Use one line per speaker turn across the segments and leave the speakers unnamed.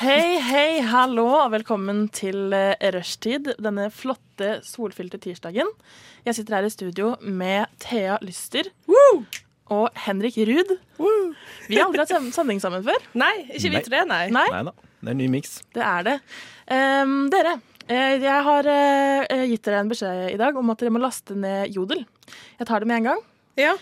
Hei, hei, hallo, og velkommen til eh, Rushtid denne flotte, solfylte tirsdagen. Jeg sitter her i studio med Thea Lyster og Henrik Ruud. Vi har aldri hatt sen- sending sammen før.
Nei, ikke vi
Nei.
tre, nei.
Nei,
Nei da. Det er en ny miks.
det er det. Ehm, dere, eh, jeg har eh, eh, gitt dere en beskjed i dag om at dere må laste ned Jodel. Jeg tar det med en gang.
Ja.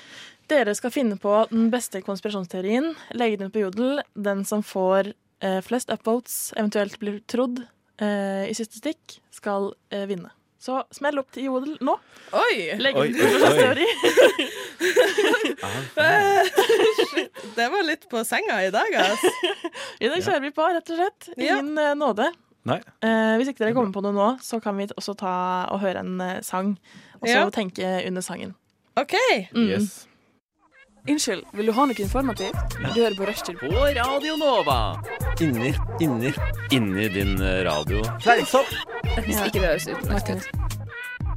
Dere skal finne på den beste konspirasjonsteorien, legge den ut på Jodel. Den som får eh, flest upvotes, eventuelt blir trodd eh, i siste stikk, skal eh, vinne. Så smell opp til Jodel nå.
Oi!
Legg
Oi,
ut
oi, oi.
konspirasjonsteori.
Det var litt på senga i dag, ass.
I dag kjører vi på, rett og slett.
Ja.
Ingen eh, nåde.
Nei.
Eh, hvis ikke dere kommer på noe nå, så kan vi også ta og høre en eh, sang. Og så
Ja.
tenke under sangen.
OK.
Mm.
Yes.
Unnskyld, vil du ha noe informativt? Du hører på Rushtid.
på Radio Nova. Inni, inni, inni din eh, radio.
Fleinsopp!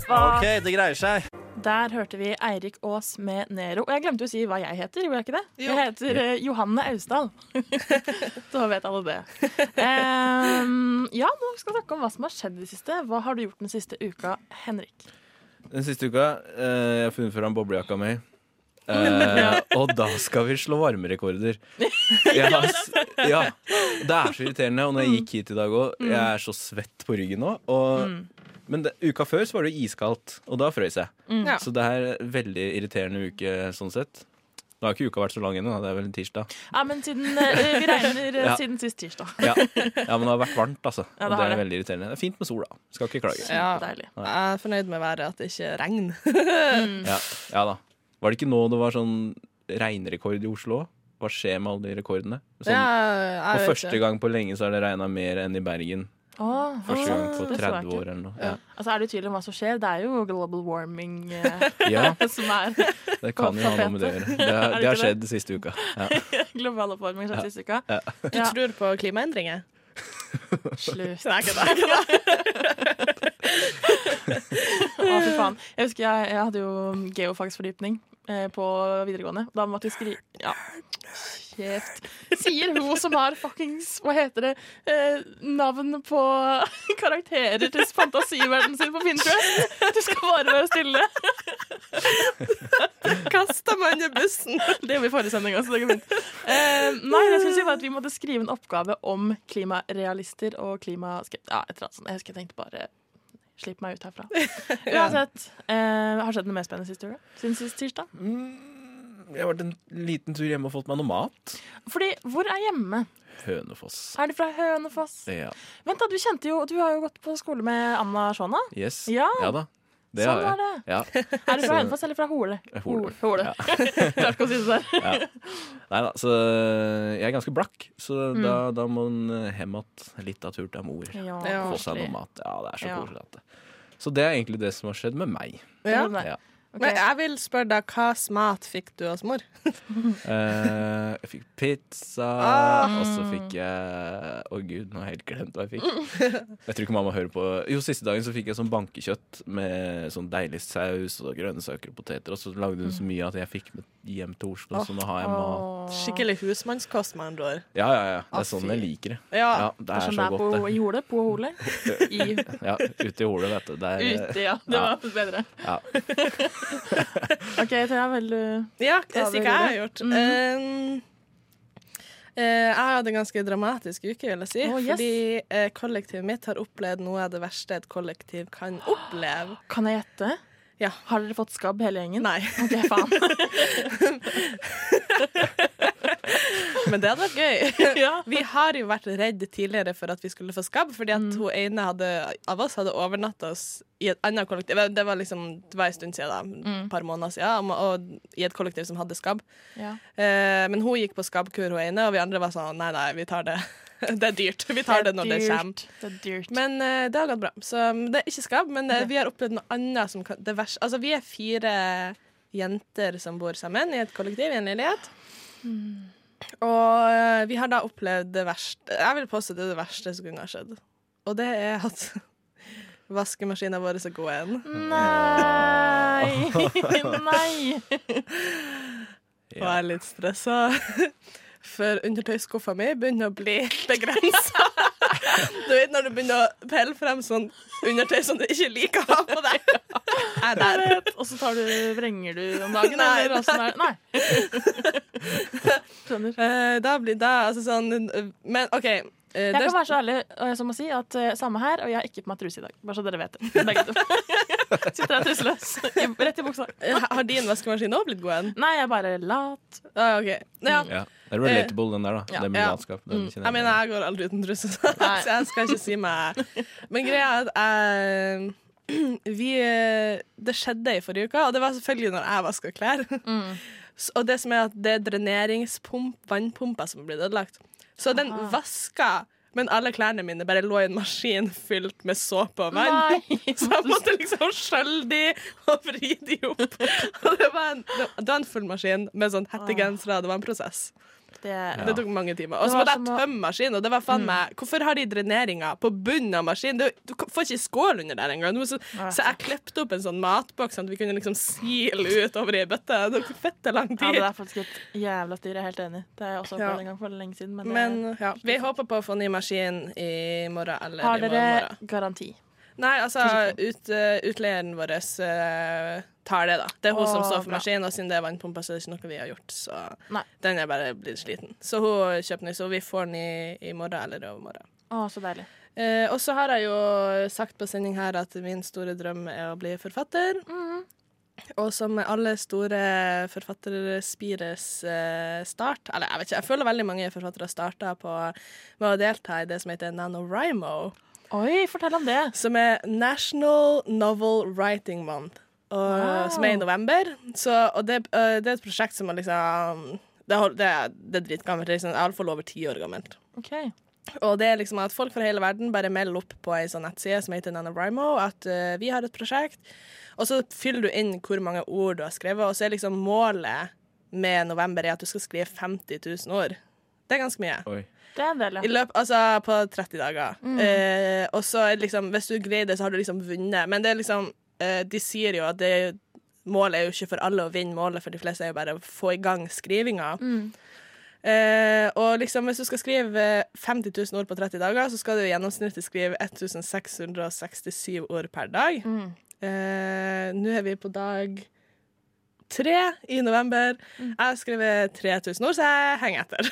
OK, det greier seg.
Der hørte vi Eirik Aas med Nero. Og jeg glemte å si hva jeg heter. gjorde jeg ikke det?
Jo.
Jeg heter eh, Johanne Austdal. Så vet alle det. Ehm, ja, nå skal vi snakke om hva som har skjedd i det siste. Hva har du gjort den siste uka, Henrik?
Den siste uka eh, jeg har funnet fram boblejakka mi. Eh, og da skal vi slå varmerekorder. Jeg har s- ja, det er så irriterende. Og når jeg gikk hit i dag òg,
Mm.
jeg er så svett på ryggen nå. Og, men det, uka før så var det jo iskaldt, og da frøys jeg.
Mm.
Ja.
Så det er en veldig irriterende uke sånn sett. Nå har ikke uka vært så lang ennå, da. det er vel tirsdag.
Ja, men siden, eh, Vi regner eh,
Ja.
siden sist tirsdag.
Ja. ja, men det har vært varmt, altså.
Ja, det
og det
har
er
det.
veldig irriterende. Det er fint med sol, da. Skal ikke klage.
Ja.
Deilig.
Jeg er fornøyd med været, at det ikke er regn.
Mm.
Ja, ja da. Var det ikke nå det var sånn regnrekord i Oslo? Hva skjer med alle de rekordene? Sånn,
Ja, jeg
for
vet
første
ikke.
gang på lenge så har det regna mer enn i Bergen.
Åh,
Første gang på
det så jeg
30
ikke.
år eller noe. Ja.
Altså, Er du i tvil om hva som skjer? Det er jo global warming eh,
Ja,
som er
det kan jo ha noe med det å gjøre. Det,
Er det
har- det har
ikke
skjedd siste uka. Ja.
global oppvarming som skjer siste uka.
Du tror på klimaendringer?
Slutt.
Nei, ikke det. ikke det.
Å, fy faen. Jeg husker jeg, jeg hadde jo geofagsfordypning eh, på videregående. Da måtte jeg skrive ja. Kjeft. Sier hun som har fuckings Hva heter det? Eh, navn på karakterer til fantasiverdenen sin på Pinterest. Du skal bare være stille.
Kasta meg under bussen.
Det gjorde vi i forrige sending også. Det går fint. Eh, nei, det jeg skulle si var at vi måtte skrive en oppgave om klimarealister og klimaskep... Ja, et eller annet sånt. Jeg husker jeg tenkte bare Slipp meg ut herfra. Uansett, eh, har skjedd noe mer spennende sist uke? Siden sist tirsdag?
Jeg har vært en liten tur hjemme og fått meg noe mat.
Fordi, hvor er hjemme?
Hønefoss.
Er du fra Hønefoss?
Ja.
Vent da, Du kjente jo, du har jo gått på skole med Anna Shona.
Yes.
Ja.
da. Det
Sånn
har
var det.
jeg. Ja.
Er du
Så-
fra Hønefoss eller fra Hole?
Hole.
Hole.
Ja.
Klarte ikke å si det der.
Nei da, så eh, jeg er ganske blakk, så da, da må en eh, hjem igjen litt av tur til mor.
Mm. Ja,
Ja.
Få seg
koselig.
noe mat. Ja, det er så
Ja.
koselig. at det. Så det er egentlig det som har skjedd med meg.
Ja.
Det er det.
Ja.
Ok.
Men jeg vil spørre deg, hva slags mat fikk du hos mor?
Eh, jeg fikk pizza,
Ah.
og så fikk jeg Å gud, nå har jeg helt glemt hva jeg fikk. Jeg tror ikke mamma hører på. Jo, siste dagen så fikk jeg sånn bankekjøtt med sånn deilig saus og grønnsaker og poteter, og så lagde hun så mye at jeg fikk med hjem til Oslo, så nå har jeg mat.
Åh.
Skikkelig husmannskost, med andre ord.
Ja, ja, ja. Det
Ah,
er sånn jeg liker det. Ja,
Ja.
det er
Sånn
så
det er
godt,
på,
det.
i Hole, på Hole. I,
Ja, ute i hodet, vet du. Det er,
ute, ja. Det var bedre.
ja.
OK, Thea, vel du
Ja, jeg sier hva jeg har gjort.
Mhm.
Um, eh, jeg hadde en ganske dramatisk uke, vil jeg si.
Å, yes.
Fordi eh, kollektivet mitt har opplevd noe av det verste et kollektiv kan oppleve.
Kan jeg gjette?
Ja.
Har dere fått skabb, hele gjengen?
Nei,
OK, faen.
men det hadde vært gøy.
ja.
Vi har jo vært redd tidligere for at vi skulle få skabb, fordi at
Mm.
hun ene hadde, av oss hadde overnatta oss i et annet kollektiv. Det var liksom det var en stund siden, da,
Mm.
et par måneder siden, og, og i et kollektiv som hadde skabb.
ja.
Eh, men hun gikk på skabbkur, hun ene, og vi andre var sånn nei, nei, vi tar det. Det er dyrt. Vi tar det når det kommer.
dyrt. Det er dyrt.
Men eh, det har gått bra. Så mm, det er ikke skabb, men eh, vi har opplevd noe annet som kan det vers- Altså, vi er fire jenter som bor sammen i et kollektiv, i en leilighet. Og eh, vi har da opplevd det verste Jeg vil påstå det er det verste som kunne ha skjedd. Og det er at vaskemaskinen vår er god igjen.
Nei! Nei!
Og jeg er litt stressa. for undertøyskuffa mi begynner å bli begrensa. du vet når du begynner å pelle frem sånn undertøy som du ikke liker å ha på deg. Jeg er der.
Og så tar du, vrenger du om dagen,
Nei,
eller åssen er det? Nei. Skjønner.
Eh, da blir da, altså sånn eh, Men OK. eh,
Jeg
det-
kan være så ærlig og jeg som må si at eh, samme her, og jeg er ikke på meg truse i dag. Bare så dere vet det. Begge to. Sitter her truseløs. i- Rett i buksa.
har din vaskemaskin òg blitt god en?
Nei, jeg er bare lat.
Ah, ok. ja.
Ja. Det er relatable, den der, da.
Ja.
det med
Ja.
latskap. Den kjenner
Jeg mener, jeg går aldri uten truse, så
Nei.
så jeg skal ikke si meg Men greia er at jeg vi, Det skjedde i forrige uke, og det var selvfølgelig når jeg vaska klær.
Mm.
Så- Og det som er at det er dreneringspump, vannpumpa som er blitt ødelagt. Så den
Aha.
vaska, men alle klærne mine bare lå i en maskin fylt med såpe og vann.
Nei.
Så jeg måtte liksom skjølle de og vri de opp. Og det var en, det var en full maskin med sånn hettegensere. Det var en prosess.
Det,
Det tok mange timer. Og
Det
så
var
måtte jeg
som å- Mm.
tømme maskinen, og det var faen meg Hvorfor har de dreneringa på bunnen av maskinen? Det er jo- Du kan- får ikke skål under der engang. Du må Så,
Nei.
så jeg klepte opp en sånn matboks sånn at vi kunne liksom sile ut over ei bøtte. Det tok fette lang
ja, det
tid.
er faktisk et jævla styr. Jeg er helt enig. Det er jeg også
Ja.
opplevd en gang for lenge siden. Men, det,
Men ja, vi håper på å få ny maskin i morgen eller
har
i morgen.
dere garanti?
Nei, altså ut, eh, utleieren vår eh, tar det, da. Det er hun
Å,
som står for
bra.
maskinen, og siden det er vannpumpa, så er det ikke noe vi har gjort. Så
Nei.
den er bare blitt sliten. Så hun kjøper ny, så vi får den i, i morgen eller i overmorgen.
Å, så deilig.
Eh, og så har jeg jo sagt på sending her at min store drøm er å bli forfatter. Og som med alle store forfatterspires eh, start Eller jeg vet ikke, jeg føler veldig mange forfattere starta på, med å delta i det som heter NaNoWriMo,
Oi, fortell om det.
som er National Novel Writing Month, og,
Wow.
som er i november. Så, og det, eh, det er et prosjekt som er liksom Det, er- det, er- det er dritgammelt. Det er liksom, Iallfall over ti år gammelt.
OK.
Og det er liksom at folk fra hele verden bare melder opp på ei sånn nettside som heter NaNoWriMo, at eh, vi har et prosjekt, og så fyller du inn hvor mange ord du har skrevet, og så er liksom målet med november er at du skal skrive 50 000 ord. Det er ganske mye.
jeg. Oi.
Det er en del,
I
ja.
løp, altså på 30 dager. Eh, og så er det liksom, hvis du greier det, så har du liksom vunnet. Men det er liksom, eh, de sier jo at det er jo- målet er jo ikke for alle å vinne, målet for de fleste er jo bare å få i gang skrivinga. Eh, og liksom, hvis du skal skrive 50 000 ord på 30 dager, så skal du i gjennomsnittlig skrive 1667 ord per dag. Eh, Nå er vi på dag tre i november. Jeg har skrevet 3000 ord, så jeg henger etter.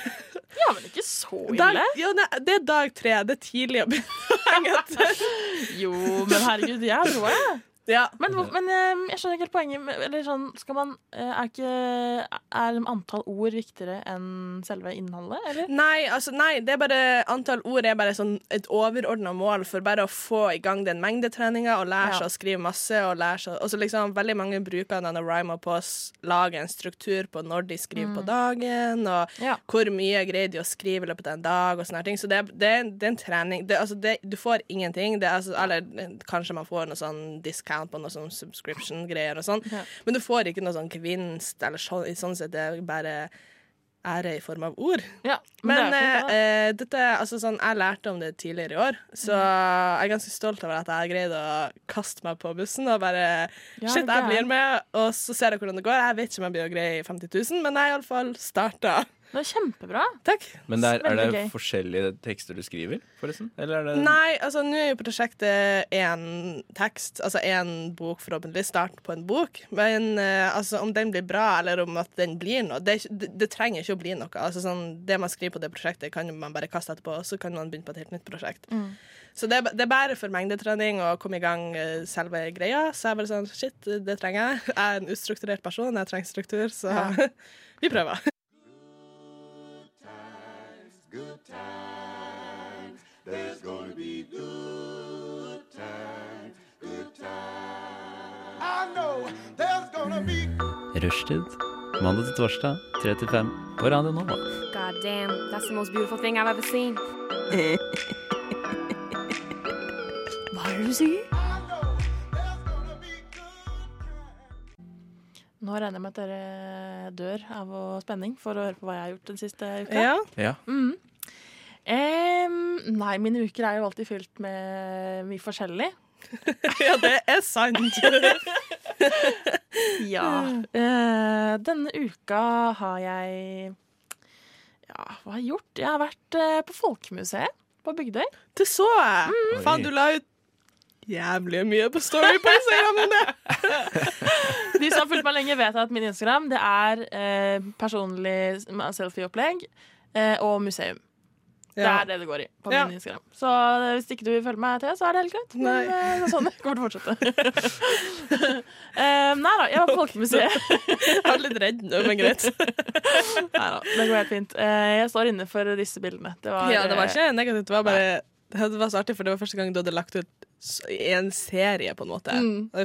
Ja, men ikke så
Dag,
ille.
ja, nei, det er dag tre. Det er tidlig å begynne å henge etter.
Jo, men herregud, jeg er roa, jeg.
Ja.
Men, hvor- men eh, jeg skjønner ikke helt poenget. med- Eller sånn, skal man, eh, er, ikke, er antall ord viktigere enn selve innholdet, eller?
Nei, altså, nei, det er bare antall ord er bare sånn et overordna mål for bare å få i gang den mengdetreninga og
Ja.
lære seg å skrive masse. Og lære seg, og så liksom, veldig mange bruker NaNoWriMo på å s- lage en struktur på når de skriver
Mm.
på dagen, og
Ja.
hvor mye greier de å skrive i løpet av en dag, og sånne her ting. Så det, er- det, er- det er en trening. Det, altså, det, du får ingenting. Det, er altså, eller eh, kanskje man får noe sånn discount på noe sånn subscription-greier og sånn,
Ja.
men du får ikke noe sånn gevinst, eller sånn, i sånn sett. Det er bare ære i form av ord.
Ja, men,
Men
det er fint, det, da.
eh, dette, altså sånn, jeg lærte om det tidligere i år, så
Mhm.
jeg er ganske stolt over at jeg har greid å kaste meg på bussen og bare
Ja,
Shit,
det er-
jeg blir med, og så ser jeg hvordan det går. Jeg vet ikke om jeg blir grei i 50 000, men jeg har iallfall starta.
det er kjempebra.
Takk.
Men der, er det
Veldig gøy.
forskjellige tekster du skriver, forresten? Eller er det
Nei, altså nå er jo prosjektet én tekst, altså én bok, forhåpentligvis. Start på en bok. Men eh, altså, om den blir bra, eller om at den blir noe Det, er ikke- det, det trenger ikke å bli noe. Altså, sånn, det man skriver på det prosjektet, kan jo man bare kaste etterpå, og så kan man begynne på et helt nytt prosjekt. Så det, er ba- det er bare for mengdetrening og komme i gang eh, selve greia. Så jeg bare sånn Shit, det trenger jeg. Jeg er en ustrukturert person, jeg trenger struktur, så
Ja.
vi prøver.
I know there's gonna be
Rushtid. Mandag til torsdag, 3 til 5 på Radio Nova.
God damn, that's the most beautiful thing I've ever seen.
Nå regner jeg med at dere dør av å- spenning for å høre på hva jeg har gjort den siste uka.
Ja.
Ja.
Em, nei, mine uker er jo alltid fylt med mye forskjellig.
ja, det er sant.
Ja. Eh, denne uka har jeg ja, Ja, hva har jeg gjort? Jeg har vært eh, på Folkemuseet på Bygdøy.
Det så jeg!
Mm.
Faen, du la ut jævlig mye på Story på Instagram om det!
De som har fulgt meg lenge, vet at min Instagram det er eh, personlig selfie-opplegg eh, og museum. Det
Ja.
er det det går i på
Ja.
min Instagram. Så eh, hvis ikke du vil følge meg til, så er det helt greit.
Nei.
Men eh, det er sånn jeg kommer til å fortsette. Eh, nei da, jeg var på Folkemuseet.
Jeg var litt redd nå, men greit.
Neida, det går helt fint. Eh, Jeg står inne for disse bildene. Det var,
Ja, det var
eh,
ikke negativt. Det var bare det var så artig, for det var første gang du hadde lagt ut s- i en serie, på en måte.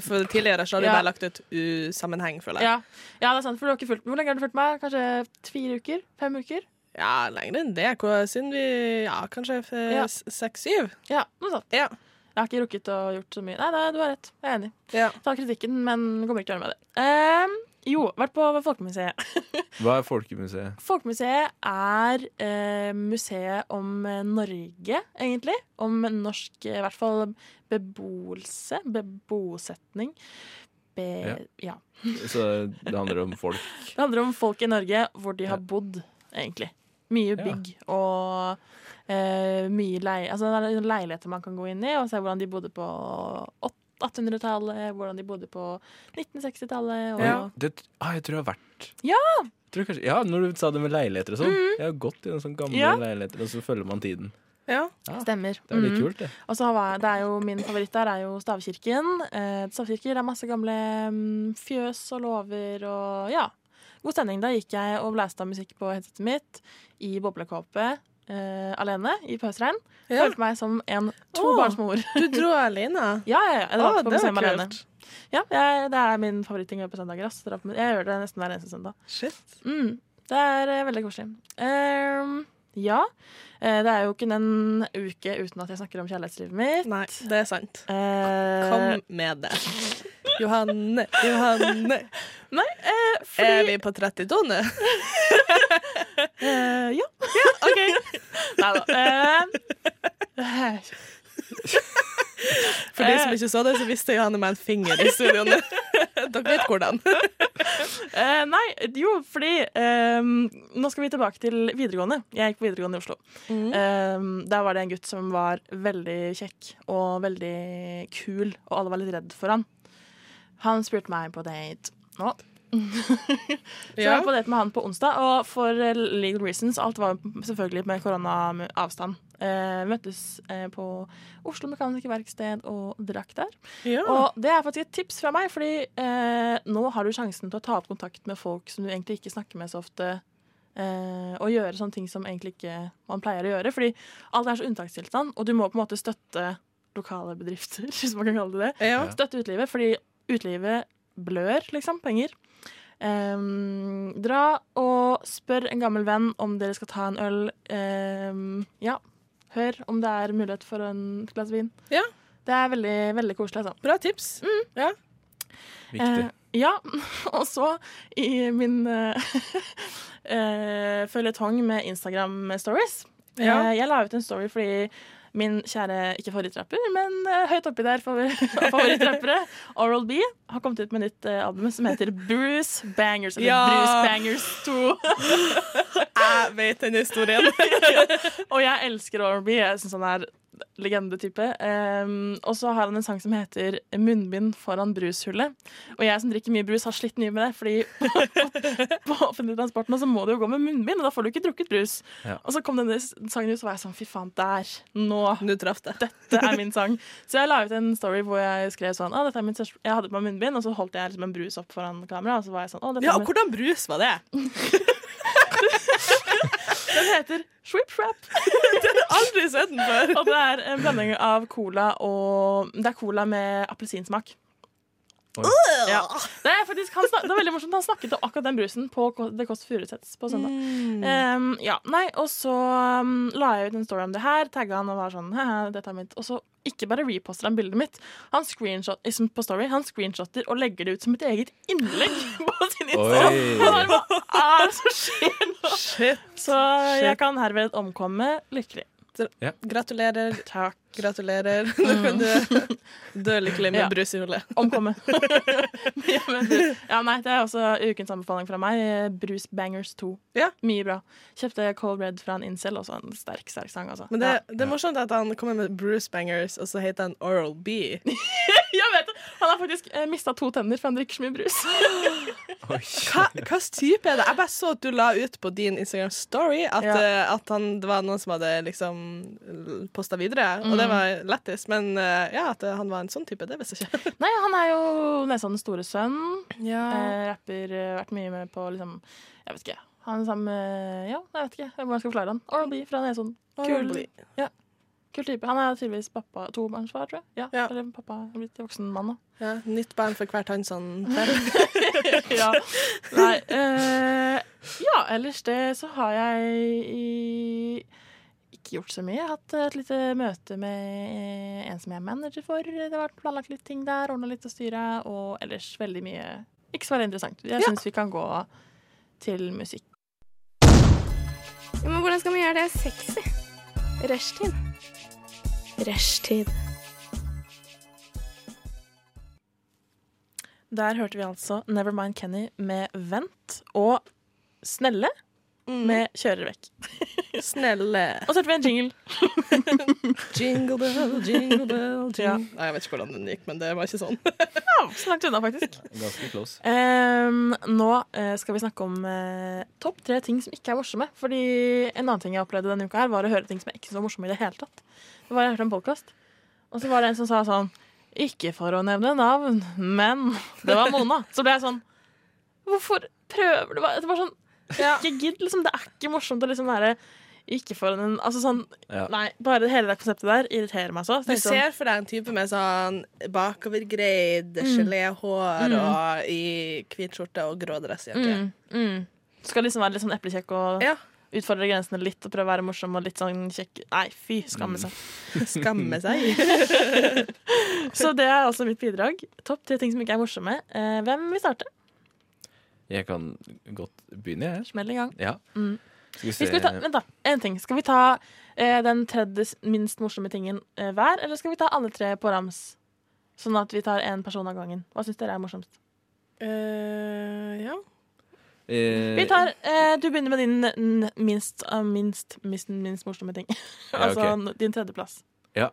For tidligere så hadde du
Mm. Ja.
bare lagt ut usammenheng, føler jeg.
ja. ja, det er sant. For du har ikke fulgt Hvor lenge har du fulgt meg? Kanskje fire uker? Fem uker?
Ja, lenger enn det. Hva, siden vi Ja, kanskje
Ja.
seks-syv?
Ja, noe sånt.
Ja.
Jeg har ikke rukket å gjort så mye. Nei, nei, du har rett. Jeg er enig.
Ja.
Ta kritikken, men kommer ikke til å gjøre med det. Ehm, jo, vært på Folkemuseet.
Hva er Folkemuseet?
Folkemuseet er eh, museet om eh, Norge, egentlig. Om norsk, eh, i hvert fall, beboelse. Bebosetning. Be
Ja.
ja.
Så det handler om folk.
Det handler om folk i Norge, hvor de har bodd, egentlig. Mye
Ja.
bygg og eh, mye lei altså, det er leiligheter man kan gå inn i og se hvordan de bodde på åt- 1800-tallet, hvordan de bodde på 1960-tallet. Og...
Ja.
Det, ah, jeg tror jeg har vært
Ja! Mhm.
Tror kanskje, ja, når du sa det med leiligheter og sånn. Jeg har gått i noen sånne gamle
Ja.
leiligheter, og så følger man tiden.
ja.
Stemmer.
Det er litt
Mhm.
kult, det.
Og så har jeg, det er jo Min favoritt der er jo Stavkirken. Eh, stavkirker er masse gamle mm, fjøs og låver og ja. God stemning. Da gikk jeg og blæste av musikk på headsetet mitt i boblekåpe eh, alene i pøsregn.
Ja.
Følte meg som en tobarnsmor.
Du dro alene.
Ja, ja, ja. Jeg drar
Å,
på
det var
museum alene.
kult.
Ja, jeg, det er min favoritting å gjøre på søndager. ass. Dra på mu- Jeg gjør det nesten hver eneste søndag.
Shit.
Mm, det er eh, veldig koselig. Ehm, ja. Eh, det er jo ikke en uke uten at jeg snakker om kjærlighetslivet mitt.
Nei, det er sant.
Eh,
Kom med det. Johanne, Johanne.
Nei, eh,
Er
fordi
vi på 32 nå?
eh, Ja. OK. Nei da. Eh,
For de som ikke så det, så visste Johanne meg en finger i studio nå. Dere vet hvordan.
Eh, nei, jo, fordi eh, Nå skal vi tilbake til videregående. Jeg gikk på videregående i Oslo.
Mm.
Eh, der var det en gutt som var veldig kjekk og veldig kul, og alle var litt redd for han. Han spurte meg på date. Nå. Så jeg var på date med han på onsdag, og for eh, legal reasons Alt var selvfølgelig med koronaavstand. Eh, møttes eh, på Oslo Mekanikerverksted og drakk der.
Ja.
Og det er faktisk et tips fra meg, fordi eh, nå har du sjansen til å ta opp kontakt med folk som du egentlig ikke snakker med så ofte, eh, og gjøre sånne ting som egentlig ikke man pleier å gjøre. Fordi alt er så unntakstilstand, og du må på en måte støtte lokale bedrifter, hvis man kan kalle det det
ja.
støtte utelivet, fordi utelivet blør, liksom, penger. Ehm, dra og spør en gammel venn om dere skal ta en øl. Ehm, ja, hør om det er mulighet for en et glass vin.
Ja.
Det er veldig, veldig koselig, altså.
Bra tips.
Viktig.
Eh, ja, og så i min uh, føljetong med Instagram-stories.
Ja.
Eh, jeg la ut en story fordi min kjære ikke favorittrapper, men eh, høyt oppi der favor favorittrappere, Oral B, har kommet ut med nytt eh, album som heter Bruce Bangers. Eller
Ja.
Bruce Bangers 2.
Jeg vet den historien.
og jeg elsker Oral B. Jeg syns han er legendetype. Um, og så har han en sang som heter 'Munnbind foran brushullet'. Og jeg som drikker mye brus, har slitt mye med det, fordi på offentlig transport nå så må du jo gå med munnbind, og da får du ikke drukket brus.
Ja.
Og så kom denne sangen ut, så var jeg sånn fy faen, der! Nå!
Du traff det.
dette er min sang. Så jeg la ut en story hvor jeg skrev sånn «Å, dette er min største... Jeg hadde på meg munnbind, og så holdt jeg liksom en brus opp foran kamera. Og så var jeg sånn, «Å, dette er
Ja, og
min...
hvordan brus var det?
Den heter Shrip Wrap.
Aldri sett den før.
Og det er en blanding av cola og Det er cola med appelsinsmak.
Oi.
Ja. Det, er faktisk, han snak... det er veldig morsomt. Han snakket om akkurat den brusen på Ko- Det Kåss Furuseths på søndag. Um, ja, nei, og så um, la jeg ut en story om det her, tagga han og var sånn «Haha, dette er mitt. Og så ikke bare reposter han bildet mitt, han screenshot, liksom på story, han screenshotter og legger det ut som et eget innlegg på sin Instagram.
Oi!
Han bare, Hva er det som skjer nå?
Shit.
Så jeg kan herved omkomme lykkelig.
Ja.
Gratulerer.
Takk.
Gratulerer. Nå kan du dø lykkelig med
Ja.
brus i hullet.
Omkomme. ja, men du, ja, nei, det er også ukens anbefaling fra meg. eh, Bruce Bangers 2.
Ja.
Mye bra. Kjøpte Cold Red fra en incel, også en sterk, sterk sang, altså.
Men det, det er morsomt at han kommer med Bruce Bangers, og så heter han Oral B.
ja. Jeg vet det! Han har faktisk eh, mista to tenner, for han drikker så mye brus.
Hva hvilken type er det? Jeg bare så at du la ut på din Instagram-story at,
Ja.
eh, at han, det var noen som hadde liksom posta videre, og det var lættis. Men eh, ja, at eh, han var en sånn type, det visste jeg ikke.
nei, han er jo Nesa den store sønn.
Eh,
Eh, rapper, eh, vært mye med på liksom Jeg vet ikke. Han er sammen med Ja, jeg vet ikke hvordan jeg skal forklare han. Oral B fra Nesodden.
Oral
Kul,
B.
ja. Kul type. Han er tydeligvis pappa tobarnsfar, tror jeg. Ja,
Ja.
Eller pappa er blitt voksen mann nå.
ja, nytt band for hvert han sånn.
ja. Nei, eh, ja, ellers det så har jeg i, ikke gjort så mye. Jeg har hatt et lite møte med eh, en som jeg er manager for. Det har vært planlagt litt ting der, ordna litt og styra, og ellers veldig mye ikke så veldig interessant. Jeg syns vi kan gå til musikk.
Ja, men hvordan skal vi gjøre det sexy? Rushtid. Rushtid.
Der hørte vi altså Nevermind Kenny med Vent og Snelle
Mm.
med Kjører vekk.
Snelle.
Og så hørte vi en jingle.
Jingle bell, jingle bell, jingle
Ja.
Nei, Jeg vet ikke hvordan den gikk, men det var ikke sånn.
Ja, så langt unna, faktisk.
Ganske close.
Ehm, nå eh, skal vi snakke om eh, topp tre ting som ikke er morsomme. Fordi en annen ting jeg opplevde denne uka, her var å høre ting som jeg ikke syntes var morsomme i det hele tatt. Det var jeg hørte en podcast, og så var det en som sa sånn Ikke for å nevne navn, men Det var Mona. Så ble jeg sånn Hvorfor prøver du? Det var sånn Ikke gidd, liksom. Det er ikke morsomt å liksom være ikke for en Altså sånn
Ja.
Nei, bare det hele det konseptet der irriterer meg så. så
Du
tenkte jeg sånn,
ser for deg en type med sånn bakovergreid geléhår og i hvit skjorte og grå dressjakke.
mm. Skal liksom være litt sånn eplekjekk og
Ja.
utfordre grensene litt og prøve å være morsom og litt sånn kjekk. Nei, fy,
Mm.
skamme seg.
Skamme seg.
Så det er altså mitt bidrag. Topp tre ting som ikke er morsomme. Eh, hvem vil starte?
Jeg kan godt begynne, jeg.
Smell i gang.
Ja.
Mm.
Skal vi
Vi skal vi ta, vent, da. En ting. Skal vi ta eh, den tredje s- minst morsomme tingen eh, hver, eller skal vi ta alle tre på rams? Sånn at vi tar én person av gangen. Hva syns dere er morsomst?
Eh, ja.
Eh,
Vi tar, eh, Du begynner med din n- minst, ah, minst, minst, minst morsomme ting.
Ja,
altså n- din tredjeplass.
Ja.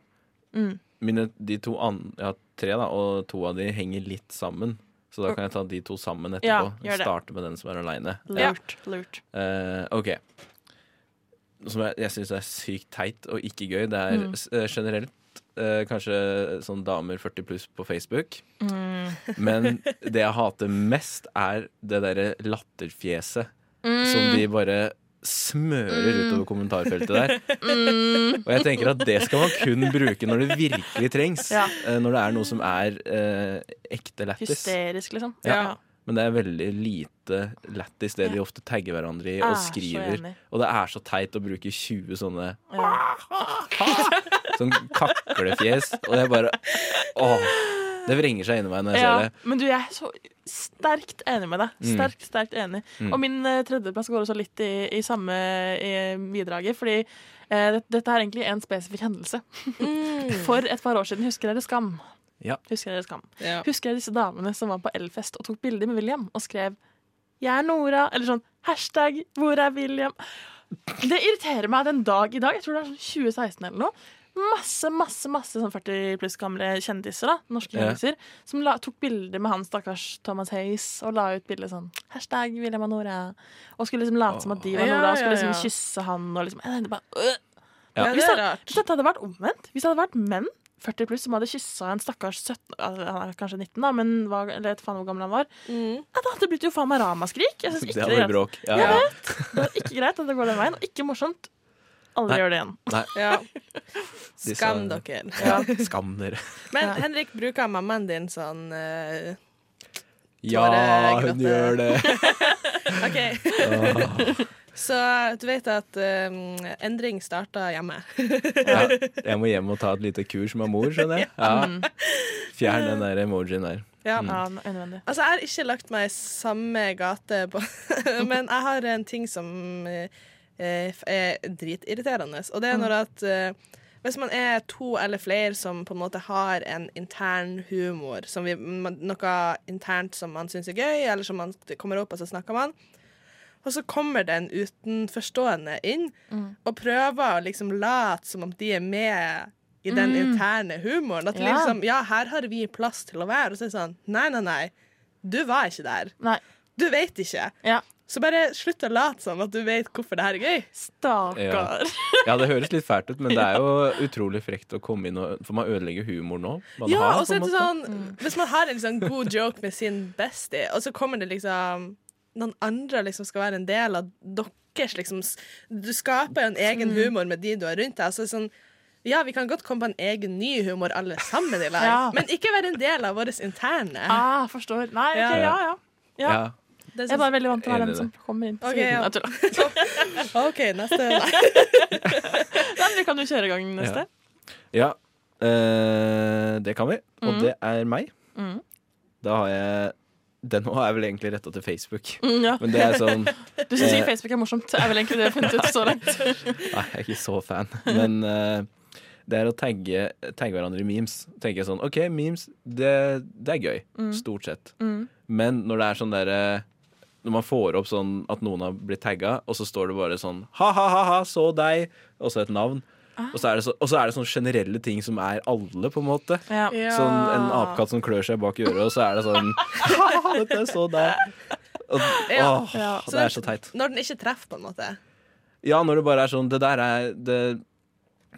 Mm.
mine, de to an, ja, tre, da, og to av de henger litt sammen. Så da kan jeg ta de to sammen etterpå.
Ja, gjør det.
Starte med den som er aleine.
Lurt. lurt.
Eh, OK. Noe som jeg, jeg syns er sykt teit og ikke gøy, det er s- eh, generelt eh, kanskje sånn damer 40 pluss på Facebook. Men det jeg hater mest, er det derre latterfjeset som de bare smører utover kommentarfeltet der. Og jeg tenker at det skal man kun bruke når det virkelig trengs.
Ja.
eh, når det er noe som er eh, ekte lættis.
Hysterisk, liksom.
Ja. Men det er veldig lite lættis det de ofte tagger hverandre i
Jeg er Ah,
og
så
skriver.
enig.
Og det er så teit å bruke 20 sånne
Ja.
sånn kaklefjes. Og det er bare Åh. Det vrenger seg inni meg når jeg
Ja,
ser det. Mm.
men du, jeg er så sterkt enig med deg. Sterkt, sterkt enig. Og min eh, tredjeplass går også litt i, i samme i bidraget, fordi eh, det, dette er egentlig en spesifikk hendelse. For et par år siden, husker dere Skam?
Ja.
Husker dere Skam?
Ja.
Husker dere disse damene som var på Elfest og tok bilder med William og skrev 'Jeg er Nora', eller sånn hashtag 'Hvor er William'? Det irriterer meg den dag i dag. Jeg tror det er sånn 2016 eller noe. Masse masse, masse sånn 40 pluss gamle kjendiser, da, norske
Ja.
kjendiser, som la, tok bilder med han stakkars Thomas Hayes og la ut bilder sånn 'Hashtag William og Nora'. Og skulle liksom late som at de var
Åh.
Nora, og skulle
Ja, ja,
liksom
ja.
kysse han og liksom jeg tenkte bare, øh.
Ja, det
Hvis
er
det-
rart.
Hvis dette hadde vært omvendt, hvis det hadde vært menn 40 pluss som hadde kyssa en stakkars 17 altså, Han er kanskje 19, da, men hva, eller vet faen hvor gammel han var.
Mm.
Ja, da hadde det blitt jo faen meg ramaskrik. Jeg synes
Det
ikke det
hadde
er
vært
greit.
bråk. Ja,
Jeg
ja.
vet. Det er ikke greit at det går den veien, og ikke morsomt. Alle
Nei.
gjør det igjen.
Ja.
Disse-
Skam dere.
Skam dere.
Men
Ja.
Henrik, bruker mammaen din sånn eh,
Ja,
Tåregrotte.
hun gjør det.
OK. Så du vet at eh, endring starter hjemme.
Ja. Jeg må hjem og ta et lite kurs med mor, skjønner jeg. Ja. Fjern den der emojien der.
Ja.
Ja,
Mm.
unødvendig.
Altså, jeg har ikke lagt meg i samme gate, på, men jeg har en ting som eh, eh, f- er dritirriterende. Og det er når at eh, hvis man er to eller flere som på en måte har en intern humor, som vi, man- noe internt som man syns er gøy, eller som man det kommer opp og så snakker man, og så kommer det en utenforstående inn
Mm.
og prøver å liksom late som om de er med i den interne humoren. At de
Mm. Ja.
liksom Ja, her har vi plass til å være. Og så er det sånn Nei, nei, nei. Du var ikke der.
Nei.
Du vet ikke.
Ja.
Så bare slutt å late som at du vet hvorfor det her er gøy.
Stakkar.
Ja, det høres litt fælt ut, men det er jo utrolig frekt å komme inn og For man ødelegger humoren nå. Man
Ja,
har,
altså,
og så er
på en
det
måte.
sånn Hvis man har en liksom god joke med sin bestie, og så kommer det liksom noen andre liksom skal være en del av deres liksom s- Du skaper jo en egen humor med de du har rundt deg. Så det er sånn ja, vi kan godt komme på en egen ny humor alle sammen i lag,
Ja.
men ikke være en del av vår interne.
Ah, forstår. Nei, ok,
Ja.
ja, ja. ja.
Ja.
Det
Jeg
er
er
sånn,
bare veldig vant til å være
Enig i
den som kommer inn på
Ok,
siden.
ja.
Jeg tuller.
OK, neste.
Nei, men vi kan jo kjøre i gang neste.
Ja, eh, det kan vi. Og det er meg.
Mm.
Da har jeg Den nå er vel egentlig retta til Facebook.
Mm, ja.
Men det er sånn
Du syns ikke Facebook er morsomt? Det er vel egentlig det jeg har funnet ut så langt.
Nei, jeg er ikke så fan. Men eh, det er å tagge, tagge hverandre i memes. Tenker jeg sånn OK, memes, det, det er gøy. Stort sett.
Mm.
Men når det er sånn derre når man får opp sånn at noen har blitt tagga, og så står det bare sånn ha-ha-ha, så deg, og så et navn.
Ah.
Og, så er det så, og så er det sånne generelle ting som er alle, på en måte.
Ja.
Sånn en apekatt som klør seg bak i øret, og så er det sånn «Haha, Dette er så deg. Og,
Ja,
åh,
ja.
Det er så teit.
Når den ikke treffer, på en måte.
Ja, når det bare er sånn Det der er Det,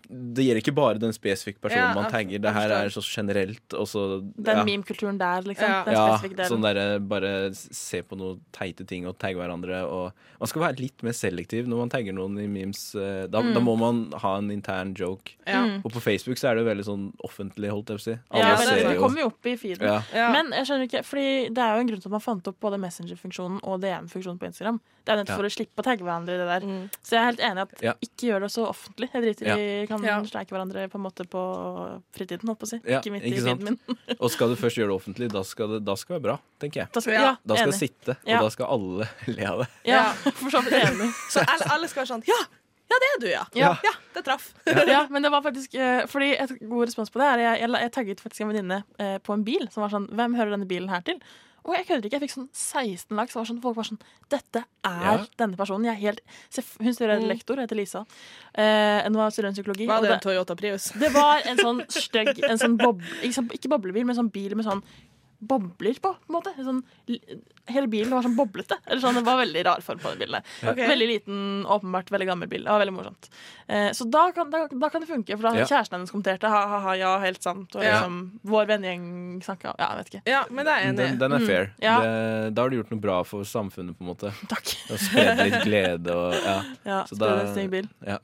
det gjelder ikke bare den spesifikke personen
Ja,
man
jeg
tagger. Det her
forstår.
er så generelt, og så
Den
ja.
meme-kulturen der, liksom.
Ja.
Den
Ja,
spesifikke delen.
sånn derre bare se på noen teite ting og tagge hverandre. Og man skal være litt mer selektiv når man tagger noen i memes. eh, Da, da må man ha en intern joke.
Ja.
Mm.
Og på Facebook så er det jo veldig sånn offentlig, holdt jeg på å si.
Ja,
Alle
det,
ser
det
jo.
kommer jo opp i feeden.
Ja.
Ja.
Men jeg skjønner ikke, fordi det er jo en grunn til at man fant opp både Messenger-funksjonen og DM-funksjonen på Instagram. Det er jo
Ja.
nettopp for å slippe å tagge hverandre i det der.
Mm.
Så jeg er helt enig i at
Ja.
ikke gjør det så offentlig. Jeg driter i kan
Ja.
sleike hverandre på en måte på fritiden, holdt på å si.
Ja,
ikke midt
ikke
i
sant?
feeden min.
Og skal du først gjøre det offentlig, da skal det, da skal det være bra, tenker jeg.
Da skal,
Ja.
ja,
Da skal
enig.
det sitte, og
Ja.
da skal alle le av det.
Ja, for så vidt enig.
Så alle, alle skal være sånn Ja! Ja, det er du, ja.
Ja.
ja det traff.
Ja, men det var faktisk eh, Fordi et god respons på det er Jeg, jeg, jeg tagget faktisk en venninne eh, på en bil som var sånn Hvem hører denne bilen her til? Og jeg kødder ikke, jeg fikk sånn 16 likes. og var Sånn, folk var sånn Dette er
Ja.
denne personen. Jeg er helt, se, hun studerer lektor, heter Lisa. Eh, Hun var studentpsykologi.
Var
og
det en Toyota Prius?
det var en sånn stygg en sånn bob, ikke, sånn- ikke boblebil, men sånn bil med sånn bobler på, på en måte. En Sånn, li- hele bilen var sånn boblete. Eller sånn, Det var veldig rar form på den bilen. der.
Ok.
Veldig liten, åpenbart veldig gammel bil. Det var veldig morsomt. Eh, så da kan, da, da kan det funke, for da
Ja.
kjæresten hennes kommenterte ha-ha-ha, ja, helt sant. Og
Ja.
liksom, vår vennegjeng snakka Ja, jeg vet ikke.
Ja, men det er jeg enig.
Den,
i.
den er fair.
Mm. Ja.
Det, da har du gjort noe bra for samfunnet, på en måte.
Takk.
Og spred litt glede og ja.
Ja,
Så
så
da-
en stygg bil.
ja.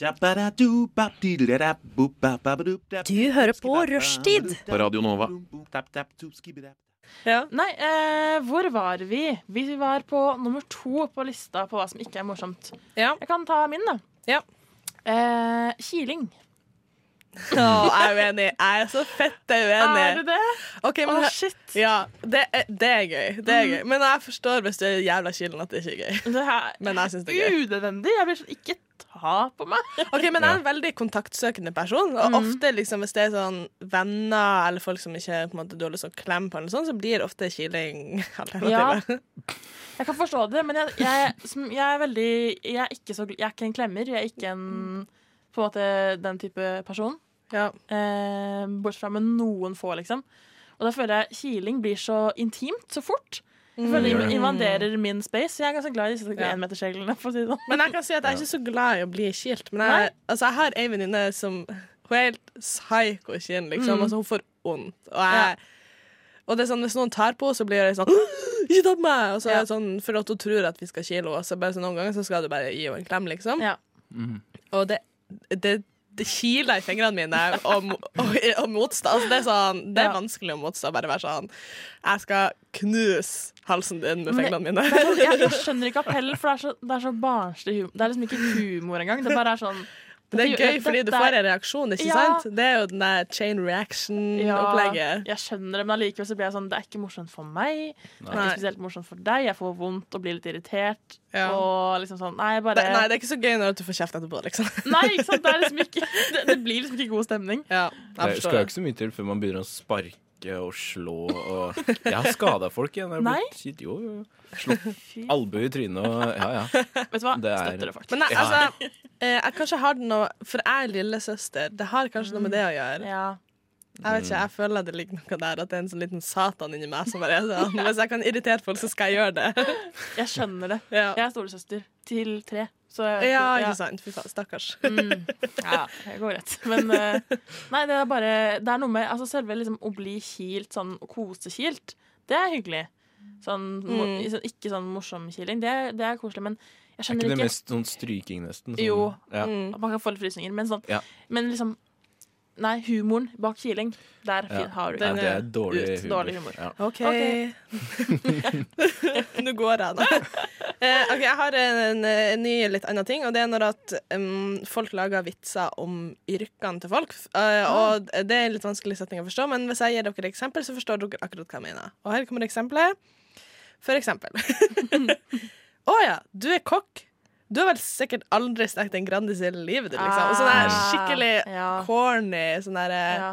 Du hører på Rushtid
På Radio Nova.
Ja.
Nei, eh, hvor var vi? Vi var på nummer to på lista på hva som ikke er morsomt.
Ja.
Jeg kan ta min, da.
Ja.
Eh, kiling.
Å, jeg er uenig. Jeg er så fett jeg er
Er du
uenig.
det?
Ok,
Å,
men he-
shit.
ja, det, er, det er gøy. Det er gøy. Men jeg forstår hvis du er jævla kilen at det ikke er gøy.
Det her
Men jeg synes det er gøy.
unødvendig. Jeg blir sånn Ikke ta på meg.
Ok, Men jeg er en veldig kontaktsøkende person, og ofte liksom hvis det er sånn venner eller folk som ikke på en måte, du har lyst til å klemme på, eller sånn, så blir ofte kiling alternativet.
Jeg kan forstå det, men jeg, jeg, som, jeg er veldig jeg er, ikke så, gl- jeg er ikke en klemmer. Jeg er ikke en på en måte den type person.
Ja.
Eh, bortsett fra med noen få, liksom. Og da føler jeg kiling blir så intimt så fort. Jeg føler det invaderer min space. Så jeg er ganske glad i disse
Ja.
enmetersreglene. For å si det sånn.
Men jeg kan si at jeg er ikke så glad i å bli kilt. Men jeg, altså, jeg har ei venninne som Hun er helt psyko kinn, liksom.
Mm.
Altså, hun får vondt. Og, jeg, og det er sånn, hvis noen tar på henne, så blir jeg sånn Ikke ta på meg! Og så er det sånn, for at hun tror at vi skal kile henne. Så bare sånn, noen ganger så skal du bare gi henne en klem, liksom.
Ja.
Og det, det, det kiler i fingrene mine og, mo- og, og motstå. Altså, det er, sånn, det er
Ja.
vanskelig å motstå. Bare være sånn Jeg skal knuse halsen din
Men
med
det-
fingrene mine.
Jeg, jeg skjønner ikke appell, for det er så, det er så barnslig humor. Det er liksom ikke humor engang. Det bare er sånn
Men det er gøy fordi du får en reaksjon, ikke
Ja.
sant? Det er jo den der chain reaction-opplegget.
jeg skjønner det, men allikevel så blir jeg sånn Det er ikke morsomt for meg. Det er
Nei.
ikke spesielt morsomt for deg. Jeg får vondt og blir litt irritert.
Ja.
Og liksom sånn Nei,
Det,
bare
nei, det er ikke så gøy når du får kjeft etterpå, liksom.
Nei, ikke sant? Det, er liksom ikke, det, det blir liksom ikke god stemning.
Ja,
Det
jeg
skal jo
forstår det.
ikke så mye til før man begynner å sparke og slå og Jeg har skada folk igjen. Jeg har
Nei.
blitt shit, jo, jo. Slått albue i trynet og Ja, ja.
Vet du hva?
Det er-
Støtter det faktisk.
Men nei,
Ja.
altså, eh, jeg kanskje har det noe For jeg er lillesøster. Det har kanskje noe med det å gjøre.
Ja.
Jeg vet ikke, jeg føler at det ligger noe der, at det er en sånn liten satan inni meg som bare er sånn Hvis jeg kan irritere folk, så skal jeg gjøre det.
Jeg skjønner det.
Ja,
Jeg er storesøster til tre. Så jeg,
ja Mm. ikke sant? Fy faen, stakkars.
Ja, det går rett. Men eh, nei, det er bare Det er noe med altså selve liksom, å bli kilt, sånn kosekilt, det er hyggelig. Sånn, mo-
Mm.
i- sånn- Ikke sånn morsom kiling, det, er- det er koselig, men jeg
Er
skjønner
ikke det
ikke,
mest sånn stryking, nesten? Sånn,
Jo.
Ja.
Mm.
at Man kan få litt frysninger, men sånn
Ja.
Men liksom Nei, humoren bak kiling, der fin,
Ja.
har du
Nei, det er
ut.
eh, dårlig humor.
Dårlig humor.
Ja.
OK. Nå går jeg, da. Eh, ok, Jeg har en, en ny, litt annen ting, og det er når at mm, folk lager vitser om yrkene til folk. Eh, og Det er en litt vanskelig setning å forstå, men hvis jeg gir dere et eksempel, så forstår dere akkurat hva jeg mener. Og her kommer eksempelet. For eksempel. Å ja, du er kokk. Du har vel sikkert aldri stekt en Grandis i hele livet ditt, liksom. Og sånn der skikkelig
Ja.
corny sånn der eh,
Ja.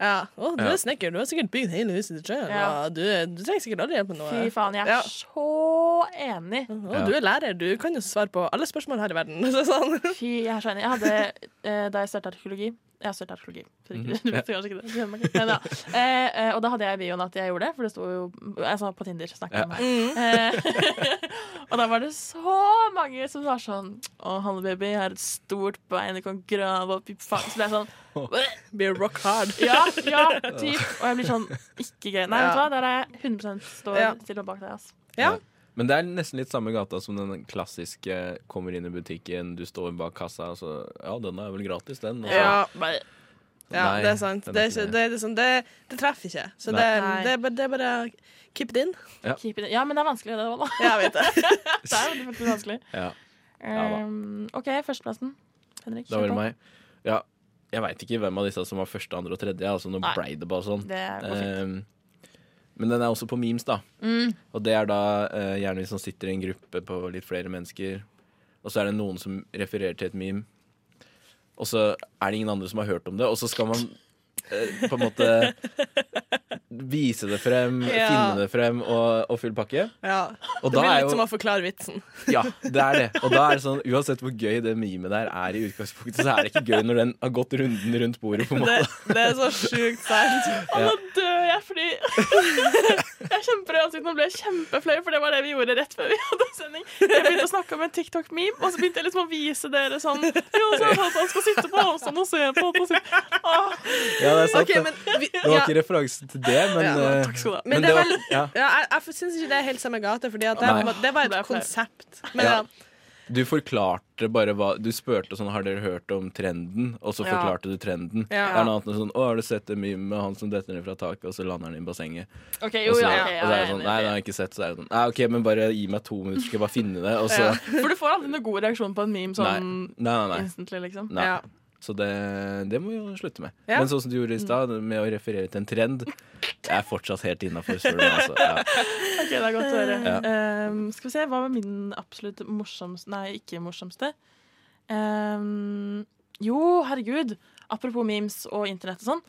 ja. Å, du
Ja.
er snekker, du har sikkert bygd hele huset ditt sjøl.
Ja.
og Du, du trenger sikkert aldri hjelp med noe.
Fy faen, jeg er
Ja.
så enig.
Å,
Ja.
du er lærer, du kan jo svare på alle spørsmål her i verden. Så sånn.
Fy, jeg er så enig. Jeg hadde, eh, da jeg startet arkeologi Jeg har studert arkeologi, så du du vet kanskje ikke det. Du kjenner meg ikke. Men Mhm. ja. eh, eh, og da hadde jeg i bioen at jeg gjorde det, for det sto jo altså, på Tinder. snakket jeg om det. Eh, og da var det så mange som var sånn Å, Hanne-baby, jeg har et stort bein, du kan grave opp i fang. Så det er sånn
Be rock hard.
Ja, ja, typ. Og jeg blir sånn Ikke gøy. Nei, vet du hva,
Ja.
der er jeg 100 står
Ja.
stille bak deg. Altså.
Ja.
Men det er nesten litt samme gata som den klassiske kommer inn i butikken, du står bak kassa, og så Ja, den er vel gratis, den. altså. Og så,
Ja.
Bare,
ja,
Nei,
det er sant.
den
Det,
er
er ikke,
ikke
det, er liksom, det, det treffer ikke. Så
Nei.
det,
Nei.
det, er bare, det er bare keep it in.
keep it in. Ja, men det er vanskelig, det òg, da.
Ja, jeg vet det.
Det er veldig, veldig vanskelig.
Ja. da.
Um, OK, førsteplassen. Henrik.
Da
kjør
var
på.
det meg. Ja, jeg veit ikke hvem av disse som var første, andre og tredje. Altså, nå
Nei.
blei det bare sånn.
Det går fint.
Ehm, men den er også på memes, da.
Mm.
Og det er da eh, gjerne hvis man sitter i en gruppe på litt flere mennesker, og så er det noen som refererer til et meme, og så er det ingen andre som har hørt om det, og så skal man eh, på en måte vise det frem,
Ja.
finne det frem og, og full pakke.
Ja.
Og
Det
da
blir
er
litt
jo
som å forklare vitsen.
ja, det er det. Og da er det sånn, uansett hvor gøy det memet der er i utgangspunktet, så er det ikke gøy når den har gått runden rundt bordet, på en
Det,
måte.
det er så sjukt sant.
Å, nå dør jeg fordi Jeg kjemper i ansiktet. Nå ble jeg kjempeflau, for det var det vi gjorde rett før vi hadde sending. Jeg begynte å snakke om en TikTok-meme, og så begynte jeg liksom å vise dere sånn Jo, så er det at han skal sitte på avstand og se på. på sitt. Ah. Åh,
Ja, det er sant.
Ok,
det.
men, vi,
det var
ja.
ikke referanse til det, men
Ja,
eh,
takk skal du ha.
Men
men
det
det
er
var-
vel, ja.
ja.
jeg, jeg syns ikke det er helt samme gate, Fordi at det,
Nei.
var- det var
Det er
et
flaut.
konsept. Men ja.
Ja. Du forklarte bare hva Du spurte sånn Har dere hørt om trenden? Og så
Ja.
forklarte du trenden.
Ja.
Det er noe annet enn sånn Å, har du sett det mye med han som detter ned fra taket, og så lander han i bassenget?
OK,
Og
jo,
så,
ja.
og
ok, ja,
så er
jeg
det
er
sånn
enig.
Nei, det er ikke sett, så er det sånn Nei, OK, men bare gi meg to minutter, skal jeg bare finne det, og så
Ja.
For du får aldri noe god reaksjon på en meme
Nei.
sånn
Nei, nei, nei.
instantly, liksom.
nei.
Ja.
Så det, det må vi jo slutte med.
Ja.
Men sånn som du gjorde i stad, med å referere til en trend, jeg er fortsatt helt innafor. Altså. Ja.
Ok, det er godt å høre.
Ja.
Ehm, skal vi se, hva var min absolutt morsomste Nei, ikke morsomste. Ehm, jo, herregud. Apropos memes og internett og sånn.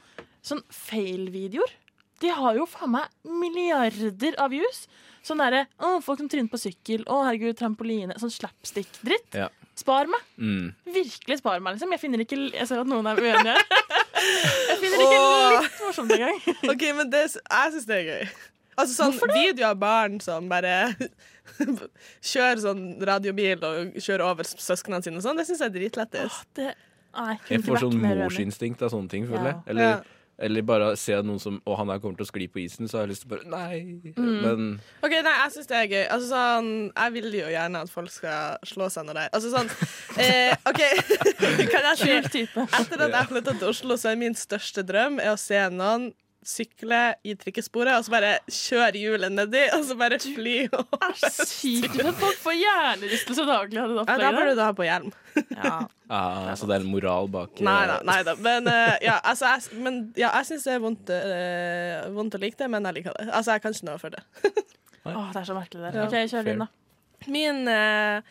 Sånn fail-videoer. De har jo faen meg milliarder av views. Sånn derre å, folk som tryner på sykkel, å herregud, trampoline. Sånn slapstick-dritt.
Ja.
Spar meg.
Mm.
Virkelig spar meg, liksom. Jeg finner ikke l- Jeg ser at noen er uenige her. Jeg finner ikke litt morsomt engang.
Ok, men det, jeg syns det er gøy. Altså sånn video av barn som bare kjører sånn radiobil og kjører over s- søsknene sine og sånn, det syns jeg er dritlættis.
Det, nei, kunne
Jeg
ikke
får
vært
sånn
mer uenig.
morsinstinkt av sånne ting, føler jeg.
Ja.
Eller,
Ja.
eller bare se noen som Å, han her kommer til å skli på isen, så har jeg lyst til å bare Nei. Men
Ok, nei, jeg syns det er gøy. Altså sånn Jeg vil jo gjerne at folk skal slå seg når de Altså sånn eh, OK, kan jeg si
Kul type.
Etter at jeg flytta til Oslo, så er min største drøm er å se noen sykle i trikkesporet, og så bare kjøre hjulet nedi, og så bare fly. Og...
Sykt at folk får hjernerystelse daglig. Hadde du
Ja, da bør du da ha på hjelm.
ja.
Ah, så det er en moral bak eh,
Nei da. Nei da. Men eh, ja, altså, jeg, s- men, ja, jeg syns det er vondt, eh, vondt å like det, men jeg liker det. Altså, jeg kan ikke noe for det.
Åh, det er så merkelig der.
Ja.
OK, kjør din, da.
Min eh,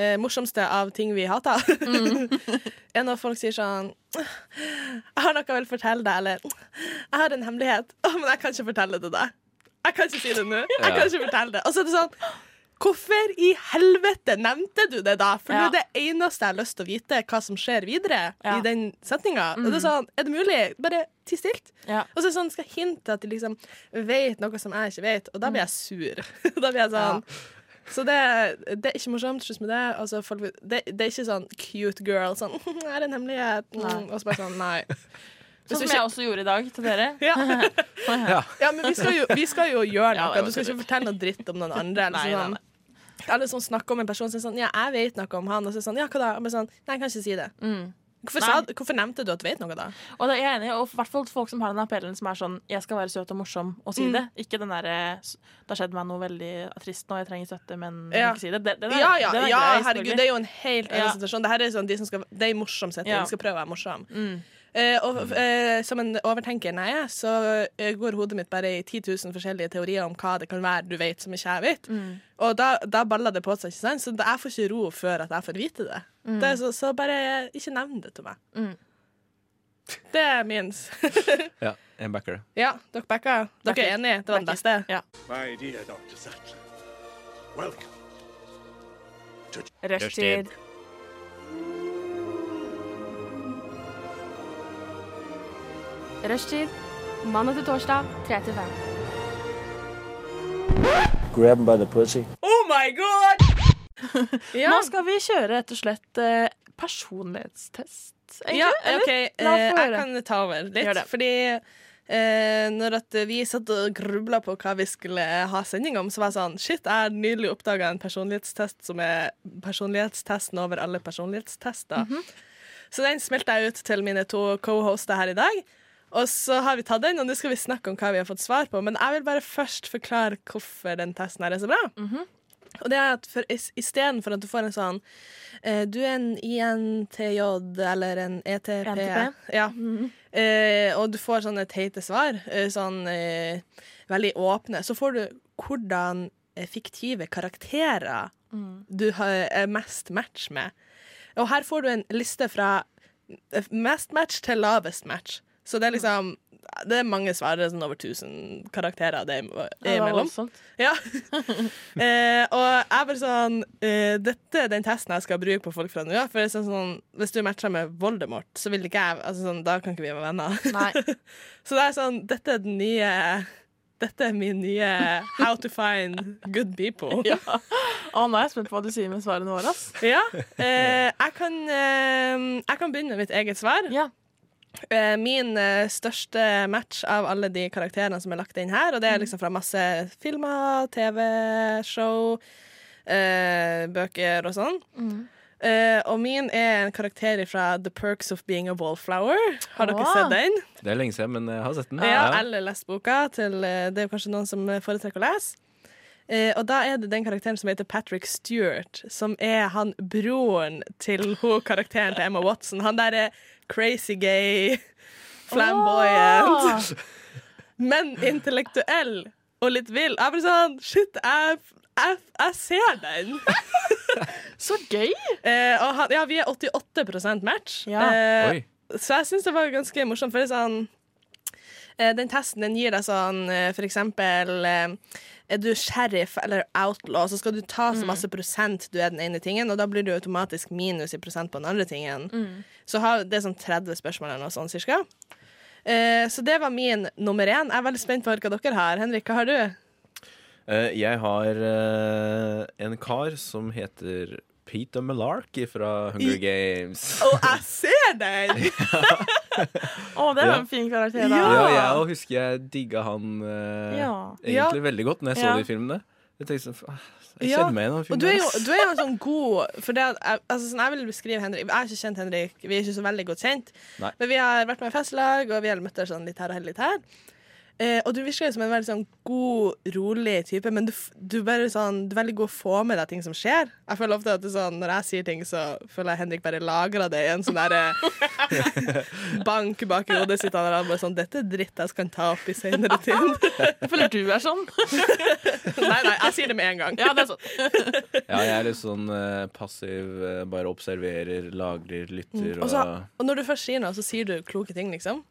eh, morsomste av ting vi hater,
Mm.
er når folk sier sånn Jeg har noe jeg vil fortelle deg, eller Jeg har en hemmelighet, «Å, men jeg kan ikke fortelle det til deg. Jeg kan ikke si det nå. Jeg kan ikke fortelle det. Og så er det sånn Hvorfor i helvete nevnte du det, da? For
Ja.
det er det eneste jeg har lyst til å vite hva som skjer videre
Ja. Mm.
i den setninga. Og det er sånn, er det mulig? Bare ti stilt.
Ja.
Og så er det sånn, skal jeg hinte at de liksom vet noe som jeg ikke vet, og da blir jeg sur. da blir jeg sånn Så det, det er ikke morsomt. Slutt med det. Altså, folk, vil- det. Det er ikke sånn cute girl sånn «Jeg har en hemmelighet. Mm,
Nei.
og så bare sånn nei.
Sånn
Hvis du
som
ikke-
jeg også gjorde i dag til dere.
Ja. ja, men vi skal jo, vi skal jo gjøre
Ja,
noe.
det var
du skal ikke
tull.
fortelle noe dritt om noen andre. Eller
Nei, nei,
sånn. Alle som snakker om en person, sier sånn Ja, jeg vet noe om han. Og så er det sånn Ja, hva da? Og bare sånn Nei, jeg kan ikke si det. Hvorfor, sa,
Mm. Nei.
du- hvorfor nevnte du at du vet noe, da?
Og det er jeg enig i, og i hvert fall folk som har den appellen som er sånn 'jeg skal være søt og morsom' og
Mm.
si det. Ikke den derre 'det har skjedd meg noe veldig trist nå, jeg trenger støtte, men jeg
Ja.
vil ikke si det'. Den, den er,
Ja, ja,
den er
ja
grei,
herregud,
selvfølgelig.
det er jo en helt egen
Ja.
situasjon. Det her er sånn, de som skal, det er en morsom setting.
Ja. Mm.
De skal prøve å være morsom. Eh, og eh, som en overtenker nei, jeg, så eh, går hodet mitt bare i 10 000 forskjellige teorier om hva det kan være du vet som ikke jeg vet.
Mm.
Og da, da baller det på seg, ikke sant? Så da- jeg får ikke ro før at jeg får vite det.
Mm.
det er så, så bare eh, ikke nevn det til meg. Det er min. s-
Ja, jeg backer det.
ja, dere backer. Dere
Backer.
er enige? Det var den beste?
Backer. Ja.
My dear Dr. Sattler, welcome.
Rushtid.
Rushtid. Mandag til torsdag, 3 til 5.
Grab him by the pussy.
Oh my god! ja.
Nå skal vi kjøre rett og slett eh, personlighetstest. egentlig,
Ja,
eller?
ok,
La oss
eh,
få
jeg
høre.
kan ta over
Gjør
litt.
det.
Fordi eh, når at vi satt og grubla på hva vi skulle ha sending om, så var jeg sånn Shit, jeg har nylig oppdaga en personlighetstest som er personlighetstesten over alle personlighetstester.
Mhm.
Så den smelta jeg ut til mine to co-hoster her i dag. Og så har vi tatt den, og nå skal vi snakke om hva vi har fått svar på. Men jeg vil bare først forklare hvorfor den testen her er så bra. Og det er at for, is- istedenfor at du får en sånn eh, Du er en INTJ eller en ETP.
NTP.
Ja. Eh, og du får sånne teite svar, eh, sånn eh, veldig åpne. Så får du hvordan eh, fiktive karakterer du har, er mest match med. Og her får du en liste fra eh, mest match til lavest match. Så
Mm.
det er liksom Det er mange svar, det er sånn over 1000 karakterer det er,
Ja,
er
det var
imellom.
voldsomt.
Ja. eh, og jeg er bare sånn eh, Dette er den testen jeg skal bruke på folk fra nå av. For det er sånn, sånn, hvis du matcher med Voldemort, så vil ikke jeg altså, sånn, Da kan ikke vi være venner.
Nei.
Så det er sånn Dette er den nye Dette er min nye How to find good people.
Ja. Å, nå er jeg spent på hva du sier med svarene våre. Ass.
Ja. Eh, jeg, kan, eh, jeg kan begynne med mitt eget svar.
Ja.
Eh, Min eh, største match av alle de karakterene som er lagt inn her, og det er liksom fra masse filmer, TV-show, eh, bøker og sånn. Eh, og min er en karakter fra The Perks of Being a Wallflower. Har dere
Åh.
sett den?
Det er lenge siden, men eh, jeg har sett den.
Ja, eller lest boka til eh, Det er jo kanskje noen som foretrekker å lese. Eh, og da er det den karakteren som heter Patrick Stewart, som er han broren til hun karakteren til Emma Watson. Han der er crazy gay, flamboyant,
Åh!
men intellektuell og litt vill. Jeg blir sånn Shit, jeg, jeg, jeg ser den!
Så gøy!
Eh, og han, ja, vi er 88 match.
Ja.
Eh,
Oi.
så jeg syns det var ganske morsomt. For det er sånn eh, Den testen den gir deg sånn eh, for eksempel eh, Er du sheriff eller outlaw, så skal du ta så masse prosent du er den ene tingen, og da blir du automatisk minus i prosent på den andre tingen. Så har, det er sånn 30 spørsmål eller noe sånn cirka. Eh, så det var min nummer én. Jeg er veldig spent på hva dere har. Henrik, hva har du?
Eh, jeg har eh, en kar som heter Peter Malarkey fra Hunger
I-
Games.
Og jeg ser den!
Å, det var
Ja.
en fin karakter, da.
Ja, jeg også husker jeg digga han eh,
Ja.
egentlig veldig godt når jeg så
Ja.
det i filmene. Jeg tenkte sånn, "Fa- jeg
Ja,
kjenner meg igjen i den
Og
filmen.
du er jo, du er jo en sånn god for det, at jeg- altså, sånn, Jeg vil beskrive Henrik Jeg har ikke kjent Henrik, vi er ikke så veldig godt kjent.
Nei.
Men vi har vært med i festlag, og vi har møttes sånn litt her og her. litt her Eh, og du virker jo som en veldig sånn god, rolig type, men du, f- du, bare sånn, du er veldig god å få med deg ting som skjer. Jeg føler ofte at det er sånn, Når jeg sier ting, så føler jeg Henrik bare lagrer det i en sånn der eh, bank bak i hodet sitt. Han er bare sånn 'Dette er dritt jeg skal ta opp i senere tid'.
Jeg føler du er sånn.
nei, nei, jeg sier det med en gang.
Ja, det er sånn.
Ja, jeg er litt sånn eh, passiv. eh, bare observerer, lagrer, lytter
Mm. Og,
og
så, og når du først sier noe, så sier du kloke ting, liksom.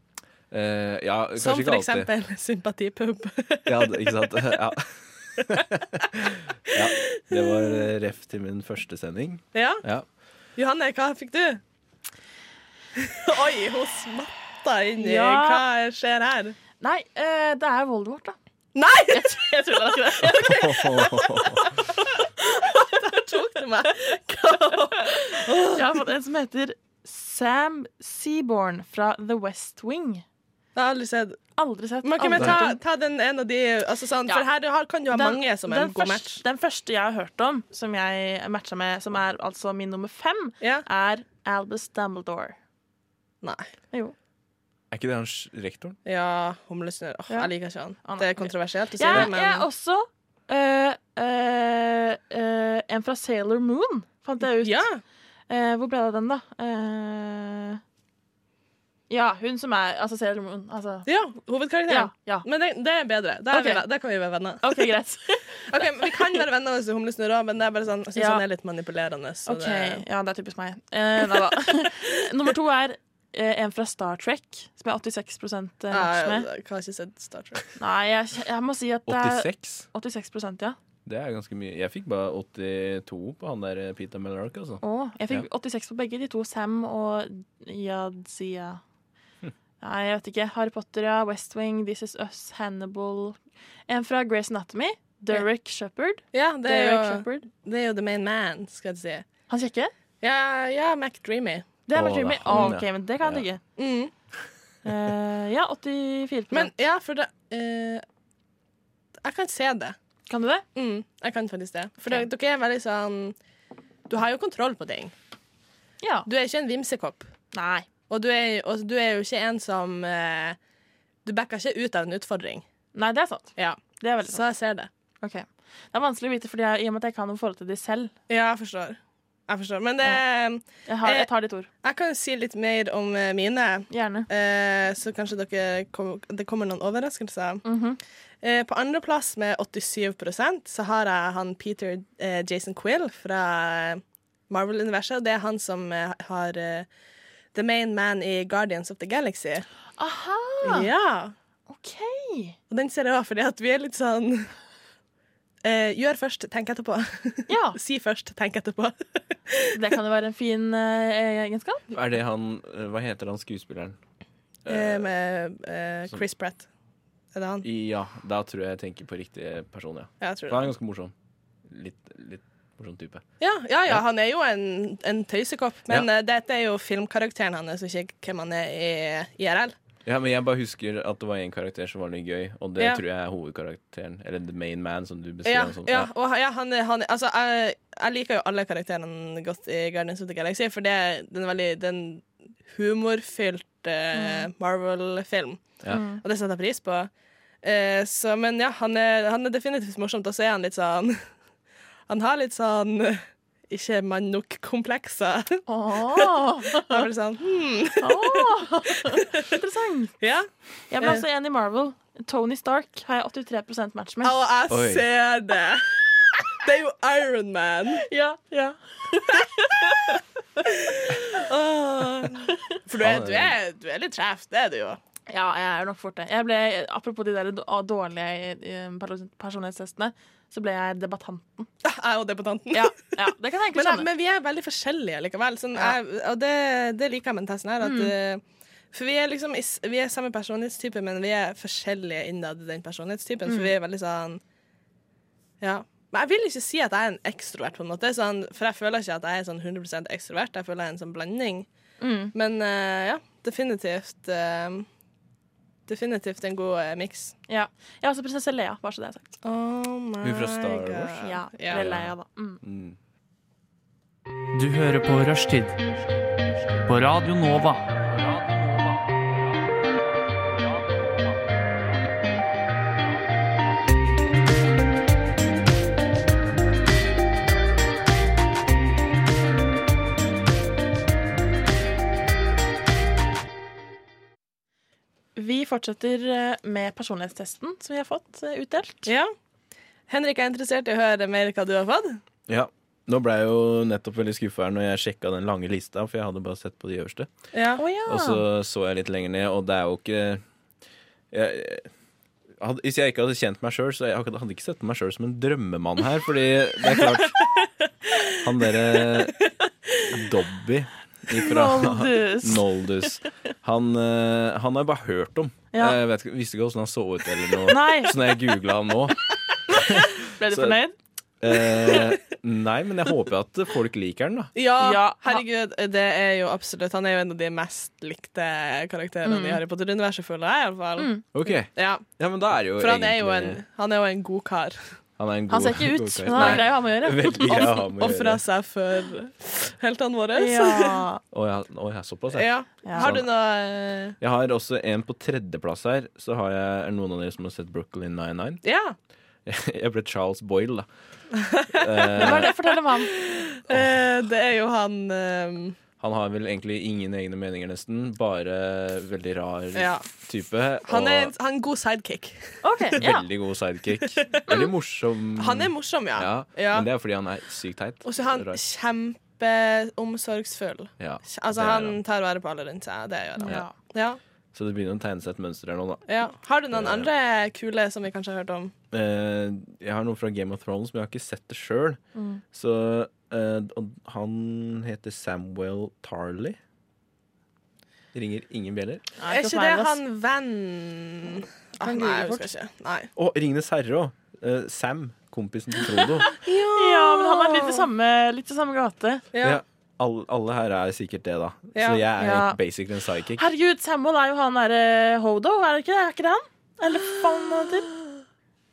eh, Ja, kanskje
Som for
ikke alltid.
eksempel sympatipub.
Ja, det- ikke sant? Ja. ja. Det var eh, ref til min første sending.
ja.
Ja.
Johanne, hva fikk du? Oi, hun smatta inn i
Ja.
Hva skjer her?
Nei, eh, det er Voldemort, da.
Nei!
Jeg, t- jeg tror det er ikke det.
tok du meg.
Jeg har fått en som heter Sam Seaborn fra The West Wing.
Jeg har aldri sett.
Aldri sett.
Men kan vi
aldri
ta,
hørt om.
ta den en av de altså sånn,
Ja.
For her du har, kan du ha mange som er en god
første,
match.
Den første jeg har hørt om, som jeg matcha med, som er altså min nummer fem,
Ja.
er Albus Dumbledore.
Nei.
Jo.
Er ikke det han s- rektoren?
Ja, Ah, humlesnurr. Åh,
Ja.
Jeg liker ikke han.
Å, nei.
Det er kontroversielt å si
Jeg,
det,
jeg er
men
også øh, øh, øh, en fra Sailor Moon, fant jeg ut.
ja.
Eh, hvor ble det av den, da? Eh, ja, hun som er Altså Sailor Moon. Altså,
ja,
ja,
hovedkarakteren.
ja.
Men det, det er bedre. Da er
Ok.
vi venner. Da kan vi være venner.
OK, greit.
Ok, men Vi kan være venner hos humlesnurr òg, men det er bare sånn, jeg syns
Ja.
han er litt manipulerende. Så
Ok,
det,
Ja, det er typisk meg. Eh, nei da. Nummer to er eh, en fra Star Trek, som jeg er 86 match
jeg,
med.
jeg har ikke sett Star Trek.
Nei, jeg, jeg må si at det er
86?
86 ja.
Det er ganske mye. Jeg fikk bare 82 på han der eh, Peter Mellark, altså.
Å, jeg fikk 86 på begge de to. Sam og Yadzia. Nei, jeg vet ikke. Harry Potter, ja. West Wing, This Is Us, Hannibal. En fra Grace Anatomy. Derek Shepherd.
Ja, det er,
Derek
jo,
Shepherd.
det er jo the main man, skal jeg si.
Han kjekke?
Ja, ja McDreamy.
Det er
Å,
vel Jimmy.
det er han,
Å, OK,
ja.
men det kan jeg digge.
Mm.
Eh, ja, 84
Men ja, for det eh, Jeg kan se det.
Kan du det?
Mm, jeg kan faktisk det. For det- dere er veldig sånn Du har jo kontroll på ting.
Ja.
Du er ikke en vimsekopp.
Nei.
Og du er, og du er jo ikke en som eh, Du backer ikke ut av en utfordring.
Nei, det er sant.
Ja,
Det er veldig sant.
Så jeg ser det.
Ok. Det er vanskelig å vite, fordi jeg, i og med at jeg ikke har noe forhold til de selv.
Ja, jeg forstår. Jeg forstår. Men det,
Jeg, har, jeg tar ditt ord.
jeg kan jo si litt mer om eh, mine.
Gjerne.
Eh, så kanskje dere kom, det kommer noen overraskelser.
Mm-hmm.
eh, på andreplass med 87 så har jeg han Peter eh, Jason Quill fra Marvel-universet. og Det er han som eh, har eh, The Main Man i Guardians of the Galaxy.
Aha!
Ja.
OK.
Og den ser jeg òg, fordi at vi er litt sånn eh, Gjør først, tenk etterpå.
Ja,
si først, tenk etterpå.
det kan jo være en fin eh, egenskap.
Er det han eh, Hva heter han skuespilleren?
Eh, med eh,
som-
Chris Pratt. Er det han?
Ja, da tror jeg jeg tenker på riktig person, ja.
Ja, jeg tror
For han
det.
er ganske morsom. Litt, litt morsom type.
Ja, ja, ja, han er jo en, en tøysekopp, men
Ja.
eh, dette er jo filmkarakteren hans, og ikke hvem han er i IRL.
Ja, men jeg bare husker at det var en karakter som var litt gøy, og det
Ja.
tror jeg er hovedkarakteren. Eller the main man, som du beskrev
Ja,
han sånn, som.
ja, og han- ja, han, er- han er- altså, jeg, jeg liker jo alle karakterene godt i Guardians of the Galaxy, for det er den veldig den humorfylte Marvel-film,
Ja.
og det setter jeg pris på. Eh, så, men ja, han er, han er definitivt morsomt, og så er han litt sånn Han har litt sånn eh, ikke mann nok-komplekser.
Åh,
Han er vel sånn hmm.
åh. Interessant.
Ja.
Jeg ble også enig i Marvel. Tony Stark har jeg 83 match med.
Og jeg
Oi.
ser det. Det er jo Iron Man.
Ja, ja.
Åh. For du er, du, er, du er litt skjev, det er du jo.
Ja, jeg er nok fort det. Jeg ble, apropos de der d- dårlige eh, perso- personlighetstestene, så ble jeg debattanten.
Jeg er jo debattanten.
Ja, ja det kan jeg egentlig
Men,
skjønne.
men vi er veldig forskjellige likevel. Sånn, jeg, og det, det liker jeg med den testen her. At, eh, For vi er liksom i s- Vi er samme personlighetstype, men vi er forskjellige innad i den personlighetstypen. For vi er veldig sånn Ja. Men jeg vil ikke si at jeg er en ekstrovert, på en måte. Sånn, for jeg føler ikke at jeg er sånn 100 ekstrovert. Jeg føler jeg er en sånn blanding.
Mm.
Men eh, ja, definitivt eh, Definitivt en god uh, miks.
Ja. Jeg er også prinsesse Lea, bare så det er sagt.
Oh my
Hun fra Star Wars?
Ja,
Ja.
eller Leia, da. Mm.
Mm.
Du hører på Rushtid på Radio Nova.
Vi fortsetter eh, med personlighetstesten som vi har fått eh, utdelt.
Ja. Henrik er interessert i å høre mer hva du har fått.
Ja. Nå ble jeg jo nettopp veldig skuffa her når jeg sjekka den lange lista, for jeg hadde bare sett på de øverste.
Ja.
Å ja.
Og så så jeg litt lenger ned, og det er jo ikke jeg, hadde, Hvis jeg ikke hadde kjent meg sjøl, så jeg hadde hadde ikke sett på meg sjøl som en drømmemann her, fordi det er klart Han derre Dobby ifra
Noldus.
Noldus. Han, eh, han har jeg bare hørt om.
Ja.
Jeg Eh, vet, ikke- visste ikke åssen han så ut eller noe.
Nei,
Så når jeg googla han nå
ble du
så-
fornøyd?
eh, Nei, men jeg håper at folk liker han, da.
Ja,
Ja,
herregud, det er jo absolutt Han er jo en av de mest likte karakterene
Mm.
i Harry Potter-universet, føler jeg iallfall. Mm.
Ok,
Ja,
ja, men da er det jo
for han er jo, en,
egentlig-
han er jo en god kar.
han, er en god,
Han ser ikke ut,
god
men han
karakter.
er grei å ha med å gjøre.
Veldig grei å ha med å
Ofra
gjøre.
seg for heltene våre.
Ja.
så-
Å ja, å ja, såpass, ja.
Ja.
Ja.
Har du noe eh,
Jeg har også en på tredjeplass her. Så har jeg er det noen av dere som har sett Brooklyn 99.
Ja.
Jeg ble Charles Boyle, da.
Hva
Eh,
er det? Fortell om han.
Eh, det er jo han ehm,
han har vel egentlig ingen egne meninger, nesten. Bare veldig rar
Ja.
type.
Han
og
er en han er en god sidekick.
Ok, ja.
veldig god sidekick. Veldig morsom.
Han er morsom, ja.
Mm. ja,
Ja.
Men det er fordi han er sykt teit.
Og så er han
Rar.
kjempeomsorgsfull.
Ja,
Altså,
det er
han tar vare på alle rundt seg. Det gjør han.
Ja.
Ja.
Så det begynner å tegne seg et mønster her nå, da.
Ja. Har du noen
Eh.
andre kule som vi kanskje har hørt om?
Eh, jeg har noe fra Game of Thrones, men jeg har ikke sett det sjøl.
Mm.
Så eh, og han heter Samwell Tarley. Ringer ingen bjeller.
Nei,
Er
hos
ikke
meg,
det
ass.
han venn ah, Nei, jeg husker ikke. Nei.
Og Ringenes herre òg. Sam, kompisen til Frodo.
Ja, men han er litt i samme, litt i samme gate.
Ja.
ja, alle, alle her er sikkert det, da.
Ja.
Så jeg er
Ja.
basically en psychic.
Herregud, Samuel er jo han derre Hodo, er det ikke det? Er ikke det han? Eller faen hva heter han?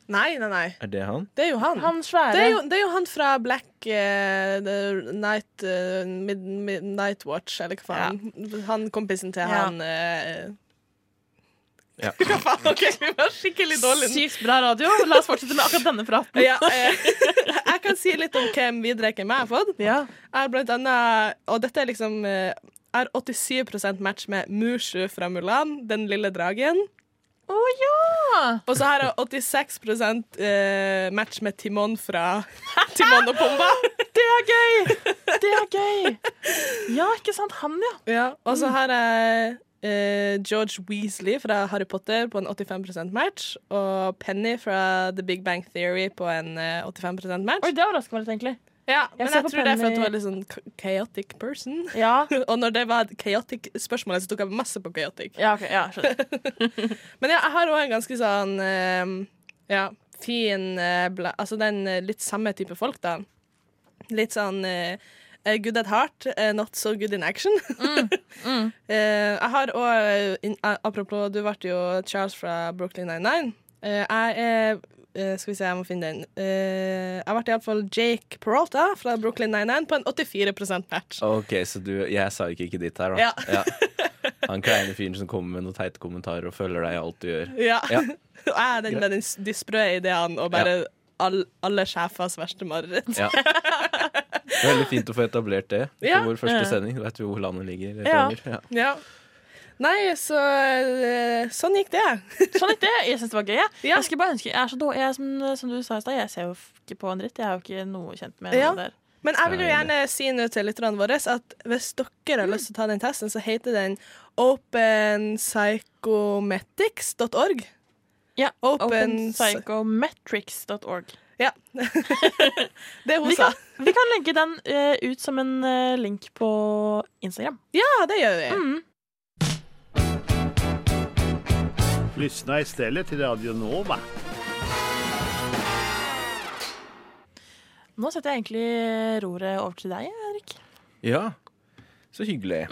Nei, nei, nei.
Er det han?
Det er jo han.
Han svære.
det, er jo, det er jo han fra Black eh, the Night eh, Mid, Mid, Night Watch, eller hva faen. Han kompisen til
Ja.
han eh,
Ja.
Hva faen? OK, vi var skikkelig dårlige nå.
Sykt bra radio. La oss fortsette med akkurat denne praten.
Ja, eh, jeg kan si litt om hvem vidrekken jeg har fått.
Ja.
Jeg har blant annet Og dette er liksom eh, Jeg har 87 match med Mushu fra Mulan, den lille dragen.
Å ja!
Og så har jeg 86 eh, match med Timon fra Timon og Pumba.
Det er gøy! Det er gøy. Ja, ikke sant? Han, ja.
Ja, og så har jeg eh, George Weasley fra Harry Potter på en 85 match. Og Penny fra The Big Bang Theory på en eh, 85 match.
Oi, det overrasker meg litt, egentlig.
Ja, men
jeg ser
jeg tror
på
det er for at
Penny-
du var litt sånn ka- chaotic person.
Ja,
Og når det var et chaotic spørsmål, så tok jeg masse på chaotic.
ja ok. Ja, skjønner.
Men ja, jeg har òg en ganske sånn eh, ja, fin eh, bla, Altså den eh, litt samme type folk, da. Litt sånn eh, eh, good at heart, eh, not so good in action. Eh, jeg har òg Apropos, du ble jo Charles fra Brooklyn 99. Eh, jeg er eh, Skal vi se, jeg må finne den. Eh, jeg ble iallfall Jake Peralta fra Brooklyn 99 på en 84 match.
OK, så du, jeg er psychic i ditt her, da.
Ja.
Han kleine fyren som kommer med noen teite kommentarer og følger deg i alt du gjør.
Ja.
Ja.
Og jeg er den med den s- de sprø ideene og bare all, alle sjefers verste mareritt.
Ja. Det er veldig fint å få etablert det på
Ja.
vår første sending. Da vet vi hvor landet ligger.
Ja.
fremover. Ja.
Ja. Nei, så eh, Sånn gikk det.
Sånn gikk det. Jeg syns det var gøy. Jeg,
Ja.
jeg skulle bare ønske Jeg er så dårlig. Jeg, er som, eh, som du sa i stad, jeg ser jo ikke på en dritt. Jeg er jo ikke noe kjent med
Ja.
noe der.
Men jeg vil jo
Ja, jeg er
gjerne si nå til lytterne våre at hvis dere har lyst til å ta den testen, så heter den openpsychometics.org.
Ja,
Open-
Openpsychometrics.org.
Ja. det hun
Vi
sa.
kan, vi kan legge den eh, ut som en eh, link på Instagram.
Ja, det gjør
Mm.
vi.
Lyssna istället till Radio Nova.
Nå setter jeg egentlig eh, roret over til deg, Erik.
Ja, så hyggelig.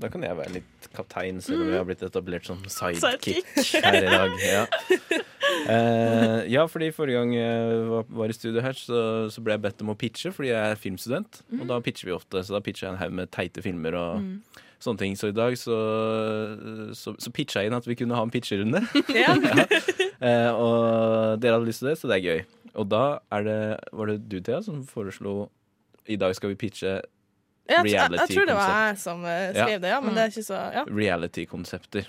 Da kan jeg være litt kaptein, selv om jeg har blitt etablert som sidekick her i dag. Ja, Eh, ja fordi forrige gang jeg var, var i studio her, så, så ble jeg bedt om å pitche, fordi jeg er filmstudent. Og da pitcher vi ofte, så da pitcher jeg en haug med teite filmer og sånne ting. Så i dag så, så, så pitcha jeg inn at vi kunne ha en pitcherunde.
Ja.
Eh, og dere hadde lyst til det, så det er gøy. Og da er det, var det du, Thea, som foreslo i dag skal vi pitche
Jeg, jeg, jeg tror det var
Reality-konsept.
jeg som eh, skrev det, ja, men det er ikke så ja.
reality-konsepter.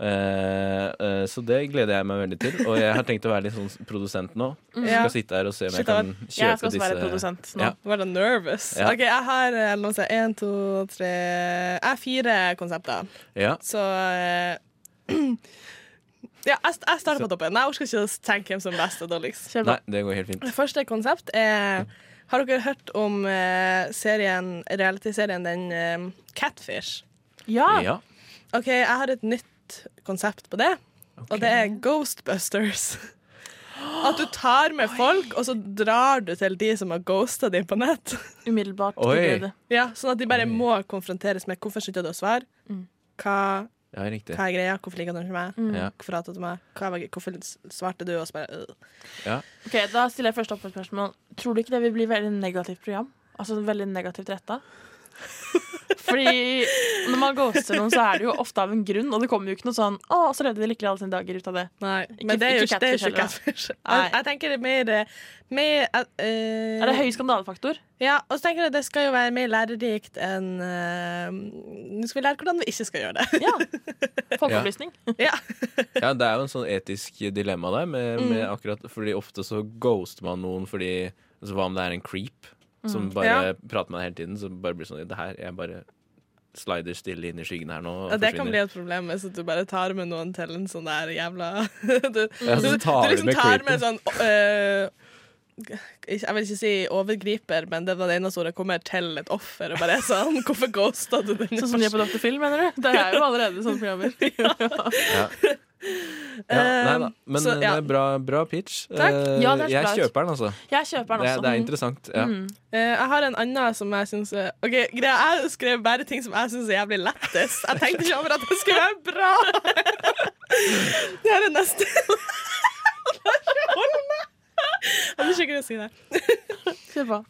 Eh, eh, så det gleder jeg meg veldig til. Og jeg har tenkt å være litt sånn produsent nå.
Mm. Ja.
Skal sitte her og se om
Shit,
jeg kan
Jeg skal
kjøpe
også være
disse.
produsent nå.
Ja.
Var da nervous.
Ja.
OK, jeg har eh, la oss se, én, to, tre Jeg har fire konsepter,
Ja.
så eh, Ja, jeg, st- jeg starter på toppen. Jeg orker ikke å tenke hvem som er best og dårligst.
Kjør på.
Nei, det går helt fint.
Det første konsept er Har dere hørt om eh, serien, realityserien den eh, Catfish?
Ja.
Ja.
OK, jeg har et nytt konsept på det, og det er Ghostbusters. At du tar med folk, og så drar du til de som har ghosta deg på nett.
Umiddelbart.
Oi.
tilbudet.
Ja, sånn at de bare må konfronteres med hvorfor slutta du å svare? Hva,
ja, riktig.
hva Mm. er greia? Hvorfor liker du ikke meg?
Ja.
Hvorfor hater du meg? Hva var, hvorfor svarte du? Og så bare øh.
Ok, Da stiller jeg først opp et spørsmål. Tror du ikke det vil bli et veldig negativt program? Altså veldig negativt retta? Fordi når man ghoster noen, så er det jo ofte av en grunn, og det kommer jo ikke noe sånn 'Å, så levde de lykkelig alle sine dager' ut av det.
Nei.
Ikke-
Men det er jo
ikke
ikke, det er jo ikke
catfish
catfish.
Nei.
Jeg, jeg tenker det er mer, eh, mer eh, eh,
Er det høy skandalefaktor?
Ja, og så tenker jeg det skal jo være mer lærerikt enn eh, Nå skal vi lære hvordan vi ikke skal gjøre det.
Ja. Folkeopplysning.
ja.
Ja, det er jo en sånn etisk dilemma der,
Mm.
med, med akkurat, fordi ofte så ghoster man noen fordi altså, Hva om det er en creep som
Mm.
bare prater med deg hele tiden? Så bare blir det sånn Det her, jeg bare slider stille inn i skyggen her nå og
Og det kan bli
forsvinner.
et problem hvis at du bare tar med noen til en sånn der jævla Du,
Ja, Altså, så
du,
tar
du
du
liksom
med
tar med sånn øh, Jeg vil ikke si overgriper, men det var det eneste ordet kommer til et offer. Og bare er sånn, Hvorfor ghosta du den?
Sånn som de gjør på Dr. Phil, mener du? Det er jo allerede sånne programmer.
Ja, nei da.
Ehm,
Um,
Men
så, ja.
det er bra, bra pitch.
Takk.
Eh,
Ja, det er så bra
jeg
ut.
kjøper den, altså.
Jeg kjøper den
Det,
også. Mm.
det er interessant. Ja.
Eh, jeg har en annen som jeg syns OK, greia, jeg skrev bare ting som jeg syns er jævlig lættis. Jeg tenkte ikke over at det skulle være bra. Det her er neste. Hold meg! Jeg blir sikkert å si det.
Kjør på.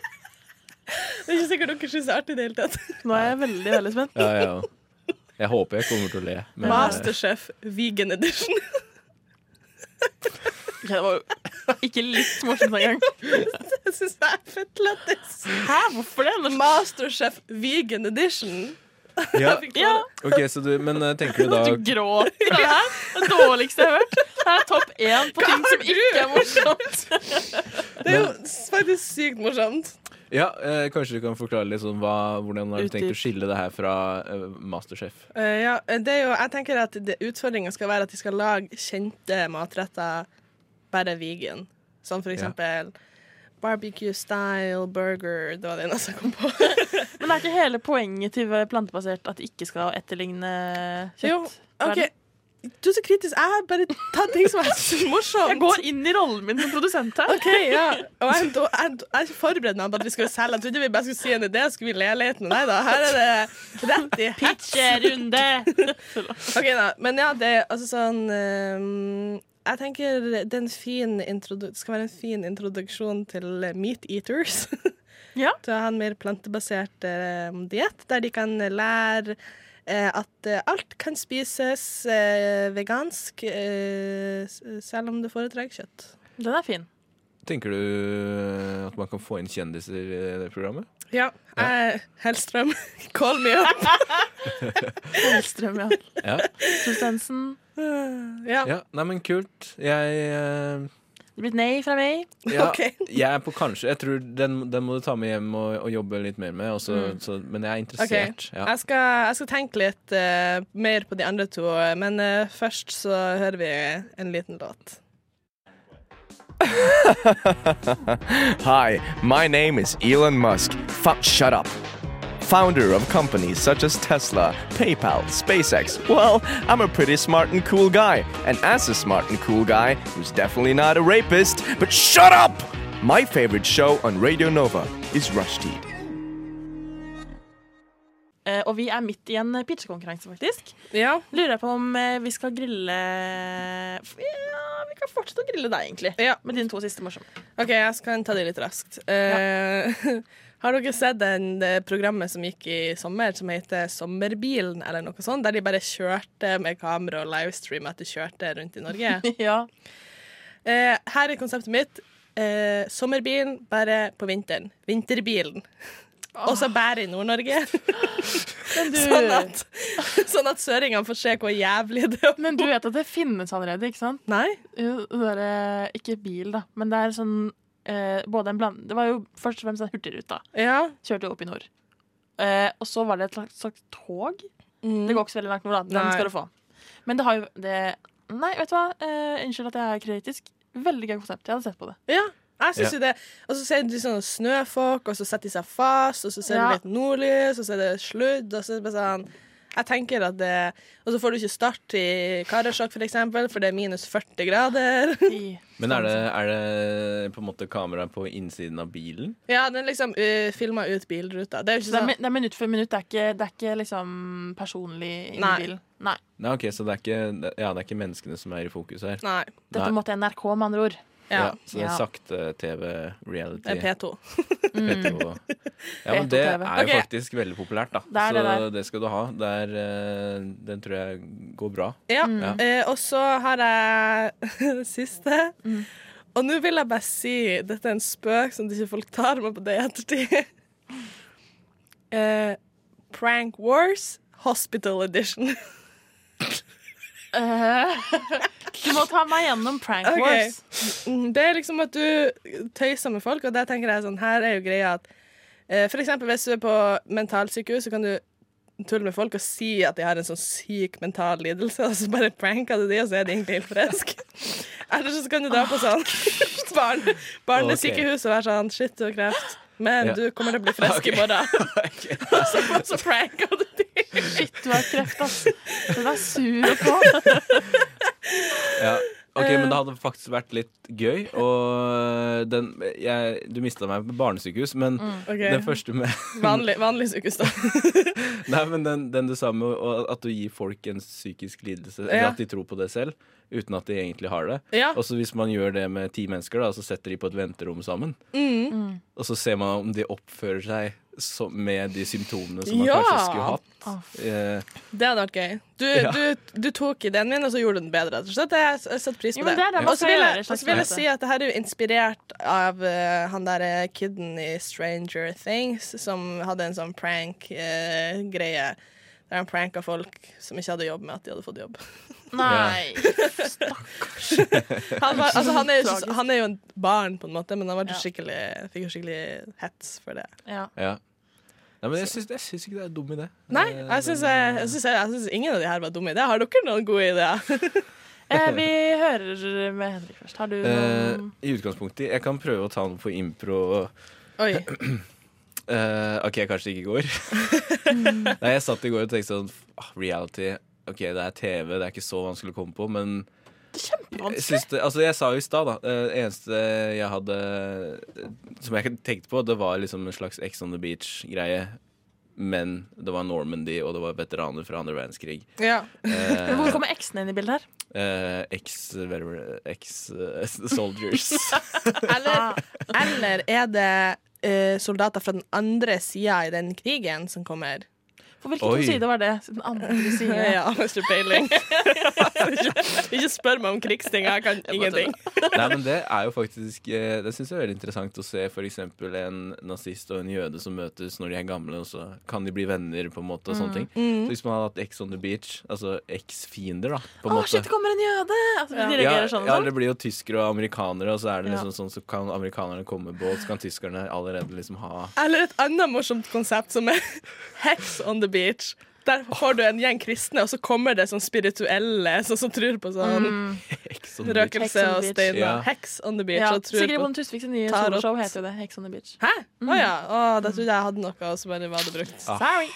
Det er ikke sikkert dere syns det er artig i det hele tatt.
Nå er jeg veldig, veldig spent.
Ja, ja. Jeg håper jeg kommer til å le. men, eh,
Masterchef vegan edition.
Ok, det var jo ikke litt morsomt engang.
Jeg syns det er fett lættis.
Hæ, hvorfor det? Når-
Masterchef vegan edition.
ja.
Ja,
Ok, så du, Men eh, tenker du da
du gråter av det her. Det dårligste jeg har hørt. Det er topp én på ting som ikke er morsomt.
Det er jo faktisk sykt morsomt.
Ja, eh, Kanskje du kan forklare litt sånn hva, hvordan har du tenkt
Utdyp.
å skille det her fra eh, Masterchef?
Eh, ja, det er jo, jeg tenker at det- utfordringen skal være at de skal lage kjente matretter bare vegan. Sånn for eksempel barbecue style burger. Det var det eneste jeg kom på.
Men det er ikke hele poenget til plantebasert at det ikke skal etterligne kjøtt?
Jo, OK. Du er så kritisk. Jeg har bare tatt ting som jeg syns er morsomt.
Jeg går inn i rollen min som produsent her.
Ok, ja. Og jeg, jeg, jeg, jeg forberedte meg på at vi skulle selge. Jeg trodde vi bare skulle si en idé, så skulle vi le litt. Men nei da, her er det rett i hett.
eh, Pitcherunde!
Ok da, Men ja, det er altså sånn ehm, Jeg tenker det er en fin introdu- det skal være en fin introduksjon til meat eaters.
Ja.
Til å ha en mer plantebasert eh, diett, der de kan lære eh, at eh, alt kan spises eh, vegansk, eh, s- selv om du foretrekker kjøtt.
Den er fin.
Tenker du eh, at man kan få inn kjendiser i det programmet?
Ja. Jeg, Hellstrøm, call me up.
Hellstrøm, ja.
Ja.
Sustensen.
Ja.
ja. Nei, men kult. Jeg eh,
Det blir et nei fra meg.
ja,
Ok.
Jeg er på kanskje Jeg tror den, den må du ta med hjem og, og jobbe litt mer med. og
Mm.
så- så- men jeg er interessert. Ja.
Jeg, skal, jeg skal tenke litt eh, mer på de andre to, men eh, først så hører vi en liten låt.
Hi, my name is Elon Musk. Fu- shut up. Founder of companies such as Tesla, PayPal, SpaceX. Well, I'm a pretty smart and cool guy. And as a smart and cool guy, who's definitely not a rapist, but shut up! My favorite show on Radio Nova is Rushdie.
Eh, Og vi er midt i en pitchekonkurranse, faktisk.
Ja.
Lurer jeg på om eh, vi skal grille F- Ja, vi kan fortsette å grille deg, egentlig.
ja.
Med dine to siste morsomme.
OK, jeg skal ta det litt raskt. Eh, har dere sett den, det programmet som gikk i sommer, som heter Sommerbilen, eller noe sånt? Der de bare kjørte med kamera og livestream at de kjørte rundt i Norge?
Ja.
Eh, her er konseptet mitt. Eh, sommerbilen bare på vinteren. Vinterbilen. og så bare i Nord-Norge.
Men du,
Sånn at, sånn at søringene får se hvor jævlig det er.
men du vet at det finnes allerede, ikke sant?
Nei?
Jo, Det der, eh, ikke bil, da, men det er sånn eh, både en bland... Det var jo først og fremst en hurtigruta.
Ja.
Kjørte jo opp i nord. Eh, og så var det et slags, slags tog.
Mm.
Det går ikke så veldig langt nord, da. Den
Nei.
skal du få. Men det har jo det Nei, vet du hva? Eh, unnskyld at jeg er kritisk. Veldig gøy konsept. Jeg hadde sett på det.
Ja. Jeg synes jo det Og så ser du sånn snøfolk, og så setter de seg fast, og så ser
Ja.
du litt nordlys, og så er det sludd, og så er det bare sånn jeg tenker at det, Og så får du ikke start i Karasjok, for eksempel, for det er minus 40 grader.
I,
Men er det, er det på en måte kamera på innsiden av bilen?
Ja, den liksom uh, filma ut bilruta. Det er
det,
jo ikke
er,
sånn
min- det er minutt for minutt. Det er ikke, det er ikke liksom personlig inni
Nei.
bilen. Nei.
Nei, ok, Så det er ikke, ja, det er ikke menneskene som er i fokus her?
Nei.
Dette
Nei.
måtte NRK, med andre ord.
Ja.
Ja, så det er
Ja.
sakte-TV-reality.
Det er P2.
P2. Ja, men det er
P2
jo
Ok.
faktisk veldig populært, da.
Det er det
så
der.
det skal du ha. Det er, eh, den tror jeg går bra.
Ja.
Mm.
Ja.
Eh, og så har jeg siste. Og nå vil jeg bare si Dette er en spøk som ikke folk tar med på det i ettertid. Eh, prank Wars Hospital Edition.
Du må ta meg gjennom Prank
Ok.
Wars.
Mm, Det er liksom at du tøyser med folk, og der tenker jeg sånn Her er jo greia at eh, For eksempel hvis du er på mentalsykehus, så kan du tulle med folk og si at de har en sånn syk mental lidelse, og så bare pranker du de, og så er de egentlig helt friske. Eller så kan du dra på sånn barn, barnesykehus og være sånn Shit, du har kreft. Men
Ja.
du kommer til å bli frisk i morgen. Og så, og så pranker du de.
Shit, du har kreft, ass. Den er sur på.
Ja. Ok, Men det hadde faktisk vært litt gøy. Og eh, den jeg, Du mista meg på barnesykehus, men
Mm.
Ok.
den første med
Vanlig, vanlig sykehus, da.
Nei, men den, den du sa med å- at du gir folk en psykisk lidelse, eller
Ja.
at de tror på det selv, uten at de egentlig har det.
Ja.
Og så hvis man gjør det med ti mennesker, da, så setter de på et venterom sammen.
Mm.
Og så ser man om de oppfører seg som- med de symptomene som man
Ja.
kanskje skulle hatt. Eh,
Det hadde vært gøy. Du,
Ja.
du, du tok ideen min, og så gjorde du den bedre. rett og slett. Jeg jeg setter pris
Jo,
på
men
det.
det er det man
Og så
skal
vil
gjøre,
jeg,
slags
og så vil jeg
måte.
si at det her er jo inspirert av eh, han derre kiden i Stranger Things som hadde en sånn prank-greie. der han pranka folk som ikke hadde jobb, med at de hadde fått jobb.
Nei.
Han, var, altså, han, er, jo,
Tragisk.
han er jo en barn, på en måte, men han var
Ja.
skikkelig, fikk jo skikkelig hets for det.
Ja.
ja. Nei, men jeg syns, jeg syns ikke det er en dum idé. Eh,
Nei, Eh, jeg syns jeg- jeg syns- jeg syns ingen av de her var dumme ideer. Har dere noen gode ideer?
Eh, vi hører med Henrik først. Har du
Eh,
noen
I utgangspunktet Jeg kan prøve å ta den på impro.
Oi.
Eh, OK, kanskje ikke i går. Nei, jeg satt i går og tenkte sånn ah, Reality. OK, det er TV, det er ikke så vanskelig å komme på, men jeg, syns det, altså jeg sa jo i stad, da. Det eneste jeg hadde eh, Som jeg tenkte på, det var liksom en slags Ex on the Beach-greie. Men det var Normandy, og det var veteraner fra andre verdenskrig.
Ja.
Men Hvor kommer eksene inn i bildet her?
Eh, Ex-soldiers.
Eller, eller er det eh, soldater fra den andre sida i den krigen som kommer?
For hvilken
Oi.
side var det? Den andre siden.
Ja, hvis du peiling. ikke, ikke spør meg om krigsting, jeg kan ingenting.
Nei, men det er jo faktisk eh, Det syns jeg er veldig interessant å se f.eks. en nazist og en jøde som møtes når de er gamle, og så kan de bli venner, på en måte,
Mm.
og sånne ting. Så hvis man hadde hatt Ex on the Beach, altså eks-fiender, da, på en
Å,
måte
shit, det kommer en jøde! Altså, de
ja,
reagerer sånn. og
ja, det
sånn.
blir jo tyskere og amerikanere, og så er det
Ja.
liksom sånn så kan amerikanerne komme med båt, så kan tyskerne allerede liksom ha
Eller et annet morsomt konsept som er Hex on the beach. Der får du en gjeng kristne, og så kommer det sånn spirituelle sånn som tror på sånn
Ex on the Beach.
røkelse
Mm. Hex on
og
the beach.
steiner.
Ja.
Hex on the beach.
Ja,
og tror
Sigrid
på
Bonde Tusviks nye
Tar opp-
soloshow heter jo det. Hex on the Beach.
Hæ? Å ja. Å, da trodde jeg jeg hadde noe, og så bare var det brukt.
Sorry.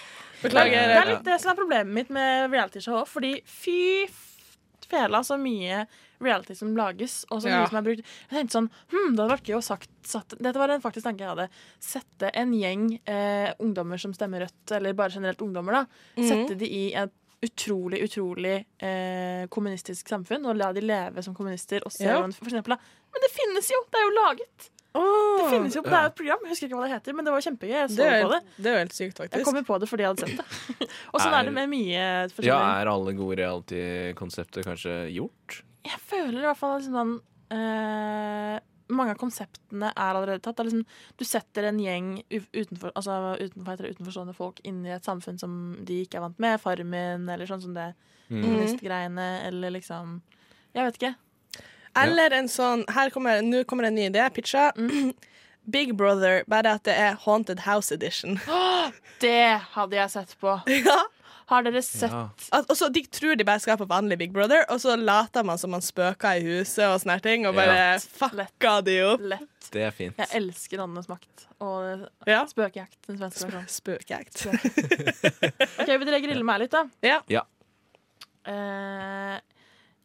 Beklager.
Det er litt det som er problemet mitt med realityshow òg, fordi fy f- fela så mye reality som lages, og så mye
Ja.
som er brukt. Jeg tenkte sånn Hm, det hadde vært gøy å sagt satt, Dette var en faktisk tanke jeg hadde. Sette en gjeng eh, ungdommer som stemmer rødt, eller bare generelt ungdommer, da.
Mhm. Mm.
Sette de i et utrolig, utrolig eh, kommunistisk samfunn, og la de leve som kommunister, og se
Ja.
hvordan for eksempel, da. Men det finnes jo! Det er jo laget! Det finnes jo, det er jo et program, jeg husker ikke hva det heter, men det var kjempegøy. Jeg så
Det er,
på det.
jo- det er jo helt sykt,
Jeg
faktisk.
kom jo på det fordi jeg hadde sett det. Og sånn er det med mye
Ja,
forskjellig.
er alle gode reality-konsepter kanskje gjort?
Jeg føler i hvert fall liksom sånn eh, mange av konseptene er allerede tatt. Det er liksom, du setter en gjeng u- utenfor, altså utenfor, heter det, utenforstående folk inn i et samfunn som de ikke er vant med. Farmen eller sånn som det.
Mm.
Kommunistgreiene eller liksom Jeg vet ikke.
Eller en sånn her kommer, Nå kommer en ny idé. Pitcha. Big Brother, bare at det er Haunted House Edition.
Det hadde jeg sett på.
ja.
Har dere sett
Ja.
At, og så De tror de bare skal på vanlig Big Brother, og så later man som man spøker i huset og sånne her ting, og bare
Ja.
fucka de opp.
Lett?
Det er fint.
Jeg elsker Åndenes makt og
Ja.
spøkejakt. Den svenske versjonen.
Spøkjakt.
Ok, Vil dere grille meg litt, da?
Ja.
Ja.
Eh,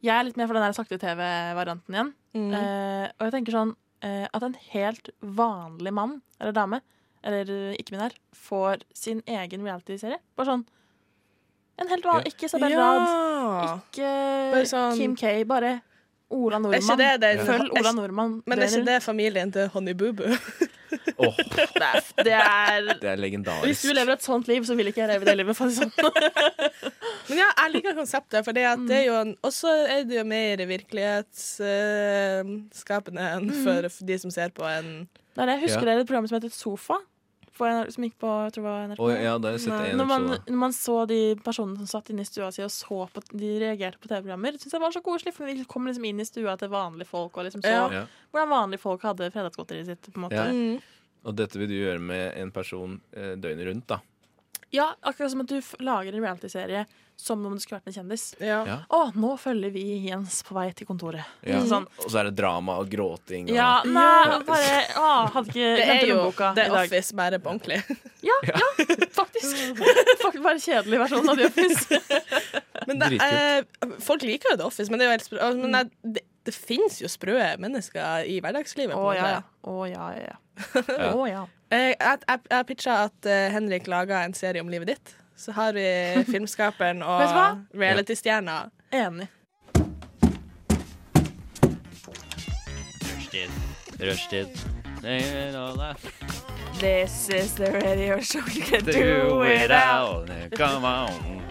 jeg er litt mer for den der sakte-TV-varianten igjen.
Mm.
Eh, og jeg tenker sånn eh, at en helt vanlig mann eller dame, eller eh, ikke min her, får sin egen reality-serie. Bare sånn en helt vanlig Ikke Isabel Rad,
Ja.
ikke
Bare sånn-
Kim K, bare Ola
Er ikke
Nordmann.
det den
Følg
er
Ola
ikke-
Nordmann.
Men er
døgnet
ikke det familien til Honey Boo Boo?
Åh,
rundt. Det er
det er
Hvis
legendarisk.
du lever et sånt liv, så vil ikke jeg leve det livet. For å si det sånn.
Men ja, jeg liker konseptet, for det er jo en, også er det jo mer virkelighetsskapende enn for de som ser på en
Det er det. Husker
Ja.
dere et program som heter Sofa? For en- Som gikk på jeg tror det var NRK.
Å, ja, da har jeg sett
Nei,
en
når, man,
episode.
når man så de personene som satt inne i stua si og så på de reagerte på TV-programmer, syntes jeg var så koselig. For de kom liksom inn i stua til vanlige folk og liksom så
Ja.
Ja.
hvordan vanlige folk hadde fredagsgodteriet sitt. på en måte. Mm.
Ja.
Ja.
Og dette vil du gjøre med en person eh, døgnet rundt, da.
akkurat som at du f lager en reality-serie som om du skulle vært en kjendis.
Ja.
Ja.
Å, nå følger vi Jens på vei til kontoret.
Ja.
Sånn.
Og så er det drama og gråting. Og,
Ja, nei, bare Å, hadde ikke
Det er
glemt
jo
lommeboka
The
i dag.
Office bare på ordentlig.
Ja, ja, faktisk. faktisk. Bare kjedelig versjon av The Office.
Men det,
Dritkult.
eh, folk liker jo The Office, men det, er jo helt sprø, altså,
Mm.
men det, det, det finnes jo sprø mennesker i hverdagslivet.
Å
på en måte.
ja, ja. Å ja, ja. ja. Å, ja.
Eh, Jeg, jeg, jeg pitcha at eh, Henrik laga en serie om livet ditt. Så har vi filmskaperen
Vet du hva?
og reality-stjerna.
Enig.
Rushtid. Rushtid. This
is the radio show you can
Do it out. Come on.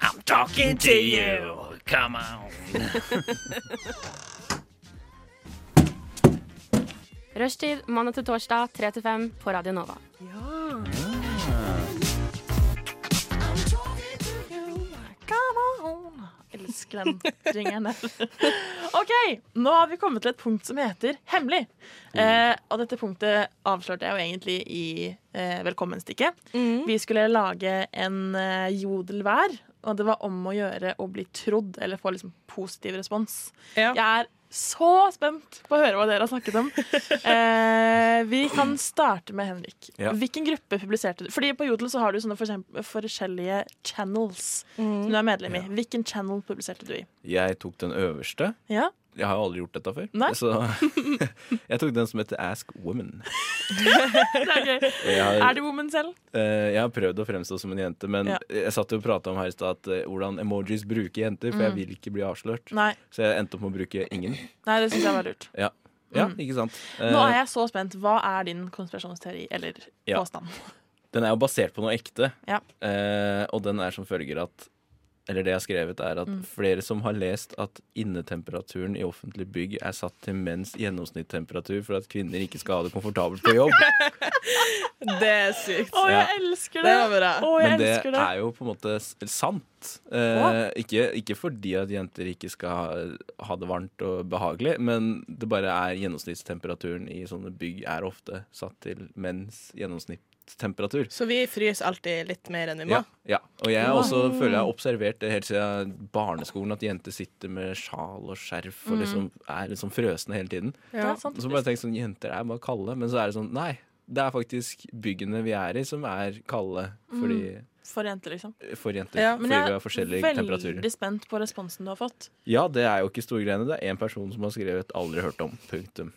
I'm talking to you. Come on.
Rushtid mandag til torsdag 3 til 5 på Radio Nova.
Elsker den ringeren der. OK, nå har vi kommet til et punkt som heter hemmelig. Eh, og dette punktet avslørte jeg jo egentlig i eh, velkommenstikket. Vi skulle lage en eh, jodel hver, og det var om å gjøre å bli trodd eller få liksom positiv respons.
Ja.
Jeg er så spent på å høre hva dere har snakket om. Eh, vi kan starte med Henrik.
Ja.
Hvilken gruppe publiserte du? Fordi På Jodel så har du sånne for eksempel- forskjellige channels som du er medlem i. Hvilken channel publiserte du i?
Jeg tok den øverste.
Ja,
Jeg har jo aldri gjort dette før.
Nei.
Så jeg tok den som heter Ask Women.
det Er gøy.
Jeg
Er
har,
det woman selv?
eh, jeg har prøvd å fremstå som en jente, men
Ja.
jeg satt jo og prata om her i stad at, eh, hvordan emojis bruker jenter,
Mm.
for jeg vil ikke bli avslørt.
Nei,
Så jeg endte opp med å bruke ingen.
Nei det syns jeg var lurt.
Ja, ja Eh, ikke sant?
Mm. Nå er jeg så spent. Hva er din konspirasjonsteori eller
Ja.
påstand?
Den er jo basert på noe ekte,
Ja.
eh, og den er som følger at eller det jeg har skrevet er
Mm.
at Flere som har lest at innetemperaturen i offentlig bygg er satt til menns gjennomsnittstemperatur for at kvinner ikke skal ha det komfortabelt på jobb.
Det er sykt.
Å,
jeg
jeg elsker
Det
det!
var bra.
Å, jeg
Men det
elsker det.
er jo på en måte s- sant. Eh, ikke, ikke fordi at jenter ikke skal ha, ha det varmt og behagelig, men det bare er gjennomsnittstemperaturen i sånne bygg er ofte satt til menns gjennomsnittstemperatur.
Så vi fryser alltid litt mer enn vi må.
Ja, ja. Og jeg også føler jeg har observert det helt siden barneskolen, at jenter sitter med sjal og skjerf
Mm.
og liksom er liksom frøsne hele tiden.
Det er sant.
Og så bare tenk sånn, jenter er bare kalde, men så er det sånn, nei. Det er faktisk byggene vi er i som er kalde fordi,
For jenter, liksom.
for jenter.
Ja,
Men
fordi vi har
jeg
forskjellige
er
temperaturer.
veldig spent på responsen du har fått.
Ja, det er jo ikke storgreiene. Det er én person som har skrevet 'aldri hørt om'. Punktum.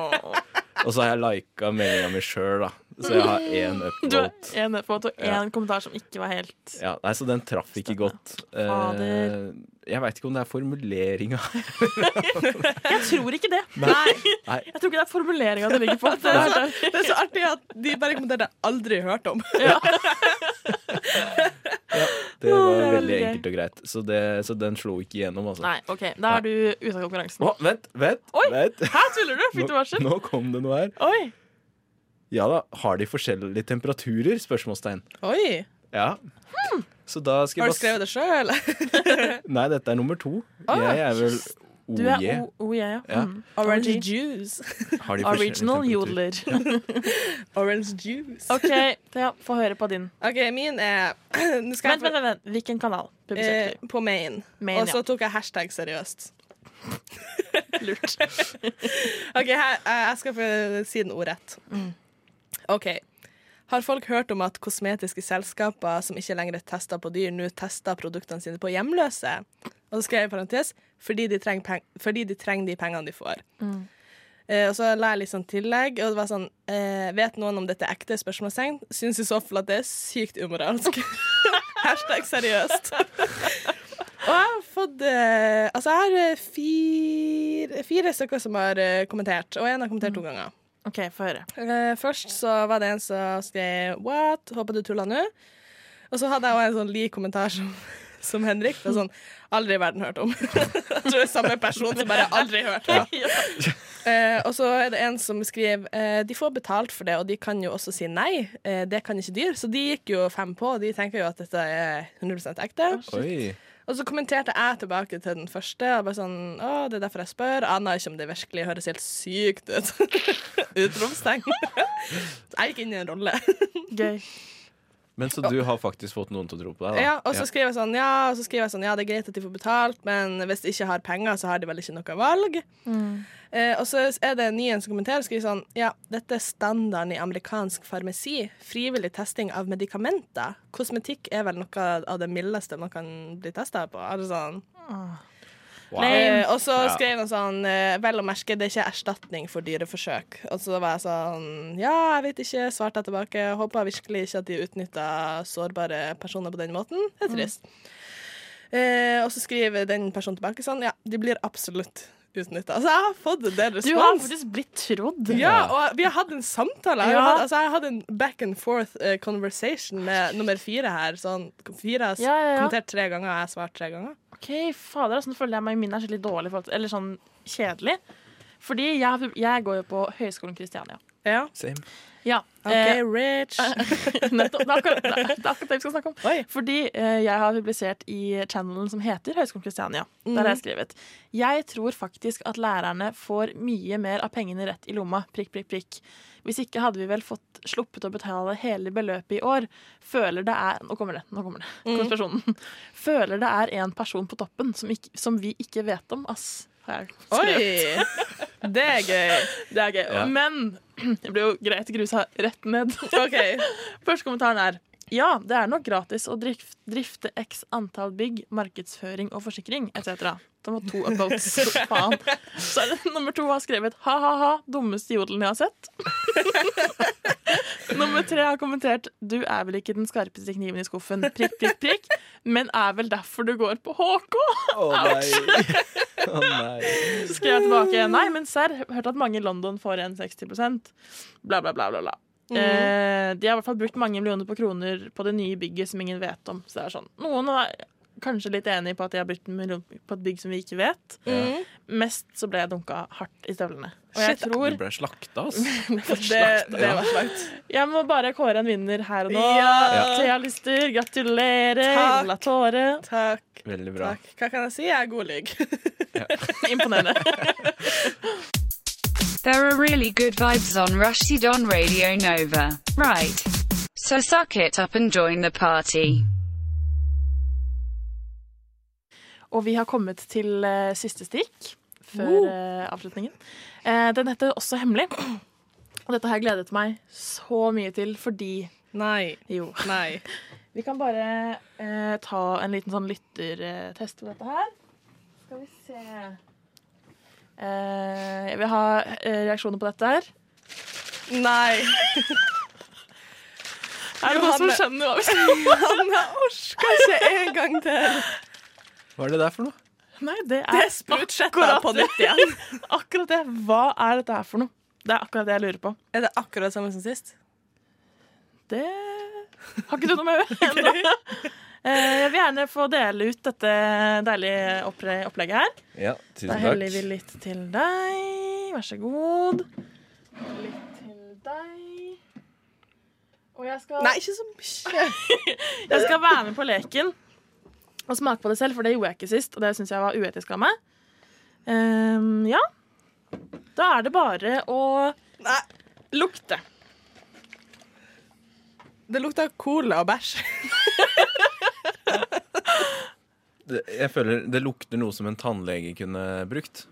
Og så har jeg lika meldinga mi sjøl, da. Så jeg har én
Du har
upvote.
én upvote og én
Ja.
kommentar som ikke var helt
Ja, nei, så den traff ikke godt. Eh,
Fader.
jeg veit ikke om det er formuleringa.
Jeg tror ikke det.
Nei. Nei.
Jeg tror ikke det er formuleringa det ligger på. Det er sånn der.
Det er så artig at de bare kommenterte 'aldri hørt om'.
det
Det var
er
veldig
veldig gøy.
enkelt og greit. Så, det, så den slo ikke igjennom, altså.
Nei, OK. Da er du ute av konkurransen.
Å, vent, vent,
Oi!
vent.
Hæ, tuller du? Fikk du
Nå,
varsel?
nå kom det noe her.
Oi.
Ja da, har de forskjellige temperaturer? Spørsmålstegn.
Oi!
Ja.
Hmm.
Så da skal
Har
jeg
du skrevet
bare
det sjøl?
Nei, dette er nummer to. Jeg er vel
Du er
OJ.
O, OJ, ja.
Ja.
Mm.
Orange
OG.
juice.
Har de forskjellige
Original
temperaturer?
jodler.
Orange juice.
OK, ja, få høre på din.
OK, min er Nå skal
Vent,
jeg
vent, vent. vent. Hvilken kanal publiserte
eh, på main.
Main,
og så
ja.
tok jeg hashtag seriøst.
du? Lurt.
OK, her, eh, jeg skal få si den ordrett. OK. Har folk hørt om at kosmetiske selskaper som ikke lenger tester på dyr, nå tester produktene sine på hjemløse? Og så skrev jeg i parentes fordi de trenger, peng fordi de, trenger de pengene de får. Eh, og så la jeg litt sånn tillegg, og det var sånn eh, Vet noen om dette er ekte? spørsmålstegn? Syns i så fall at det er sykt umoralsk. Hashtag seriøst. og jeg har fått eh, Altså, jeg har eh, fire, fire stykker som har eh, kommentert, og én har kommentert to ganger.
OK, få høre.
Eh, først så var det en som skrev 'what', håper du tuller nå. Og så hadde jeg også en sånn lik kommentar som, som Henrik. Det er sånn 'aldri i verden hørt om'. jeg tror det er samme person som bare 'aldri hørt om'. Eh, og så er det en som skriver eh, de får betalt for det, og de kan jo også si nei. Eh, det kan ikke dyr. Så de gikk jo fem på, og de tenker jo at dette er 100 ekte.
Oi.
Og så kommenterte jeg tilbake til den første. Og bare sånn, å, det er derfor jeg spør. Aner ikke om det virkelig høres helt sykt ut. Utropstegn. Så jeg gikk inn i en rolle.
Gøy.
Men så du har faktisk fått noen til å tro på deg, da?
Ja, og så skriver jeg sånn, ja, og så skriver jeg sånn, ja, det er greit at de får betalt, men hvis de ikke har penger, så har de vel ikke noe valg. Eh, og så er det en ny en som kommenterer og skriver sånn, ja, dette er standarden i amerikansk farmasi. Frivillig testing av medikamenter. Kosmetikk er vel noe av det mildeste man kan bli testet på. Er det sånn?
Wow.
Eh, og så skrev han sånn eh, Vel å merke, det er ikke erstatning for dyreforsøk. Og så var jeg sånn Ja, jeg vet ikke, svarte jeg tilbake. Håper virkelig ikke at de utnytta sårbare personer på den måten.
Mm.
Det er trist. Eh, og så skriver den personen tilbake sånn Ja, de blir absolutt utnytta. Altså, jeg har fått en del
Du har
respons.
faktisk blitt trodd.
ja, og vi har hatt en samtale. Jeg har
Ja.
hatt, altså, jeg har hatt en back and forth eh, conversation med nummer fire her. Sånn, fire har s-
Ja, ja, ja.
kommentert tre ganger, og jeg har svart tre ganger.
OK, fader, altså, nå føler jeg meg min er skikkelig dårlig, for, eller sånn kjedelig. Fordi jeg, jeg går jo på Høgskolen Kristiania. Eh,
Ja.
Same.
Ja.
OK, rich.
eh, Nettopp. Det er akkurat det, er- det, er akkurat det vi skal snakke om.
Oi.
Fordi eh, jeg har publisert i channelen som heter Høgskolen Kristiania. Der
Mhm.
har jeg skrevet Jeg tror faktisk at lærerne får mye mer av pengene rett i lomma. Prikk, prikk, prikk. Hvis ikke hadde vi vel fått sluppet å betale hele beløpet i år. Føler det er Nå kommer det. nå kommer det,
Mhm.
Konspirasjonen. Føler det er en person på toppen som, ikke, som vi ikke vet om, ass. Har jeg skrevet.
Oi! Det er gøy.
Det er gøy.
Ja.
Men det ble jo greit grusa rett ned.
OK.
Første kommentaren er ja, det er nok gratis å drif- drifte x antall bygg, markedsføring og forsikring etc. Det var to upvotes. Faen. Så er det nummer to har skrevet ha-ha-ha, dummeste jodelen jeg har sett. nummer tre har kommentert du er vel ikke den skarpeste kniven i skuffen, prikk, prikk, prikk, men er vel derfor du går på HK?
Å nei. Å nei.
Så skrev jeg tilbake Nei, men serr, hørte at mange i London får en 60 Bla, bla, bla, bla, bla.
Mhm.
Eh, de har i hvert fall brukt mange millioner på kroner på det nye bygget som ingen vet om. Så det er sånn, Noen er kanskje litt enig på at de har brukt en million på et bygg som vi ikke vet. Mhm. Mest så ble jeg dunka hardt i støvlene. Og jeg
Du
tror
ble slakta, altså.
Det, det var slakt.
Jeg må bare kåre en vinner her og nå.
Ja.
Thea Lyster, gratulerer.
Takk.
Ola Tåre.
Takk.
Veldig bra.
Takk. Hva kan jeg si? Jeg er god lyg.
Imponerende.
There are really good vibes on Rushdie on Radio Nova. Right. So suck it up and join the party.
Og vi har kommet til eh, siste stikk før eh, avslutningen. Eh, den heter også Hemmelig. Og dette har jeg gledet meg så mye til fordi
Nei.
Jo.
Nei.
Vi kan bare eh, ta en liten sånn lyttertest på dette her. Skal vi se eh, Jeg vil ha eh, reaksjoner på dette her.
Nei.
Er det noen som
Johanne.
skjønner hva vi sier?
Hanna orker ikke en gang til.
Hva er det der for noe?
Nei, det
Det
er
er sprutsjetta på nytt igjen.
akkurat det. Hva er dette her for noe? Det er akkurat det jeg lurer på.
Er det akkurat samme som sist?
Det har ikke du noe med å gjøre ennå. Eh, Jeg vil gjerne få dele ut dette deilige oppre- opplegget her.
Ja,
Da
tusen takk.
heller vi litt til deg. Vær så god. Litt til deg. Og jeg skal
Nei, ikke så mye.
Jeg skal være med på leken og smake på det selv, for det gjorde jeg ikke sist, og det syns jeg var uetisk av meg. Ehm, ja. Da er det bare å
Nei.
lukte.
Det lukta cola og bæsj.
Det, jeg føler det lukter noe som en tannlege kunne brukt.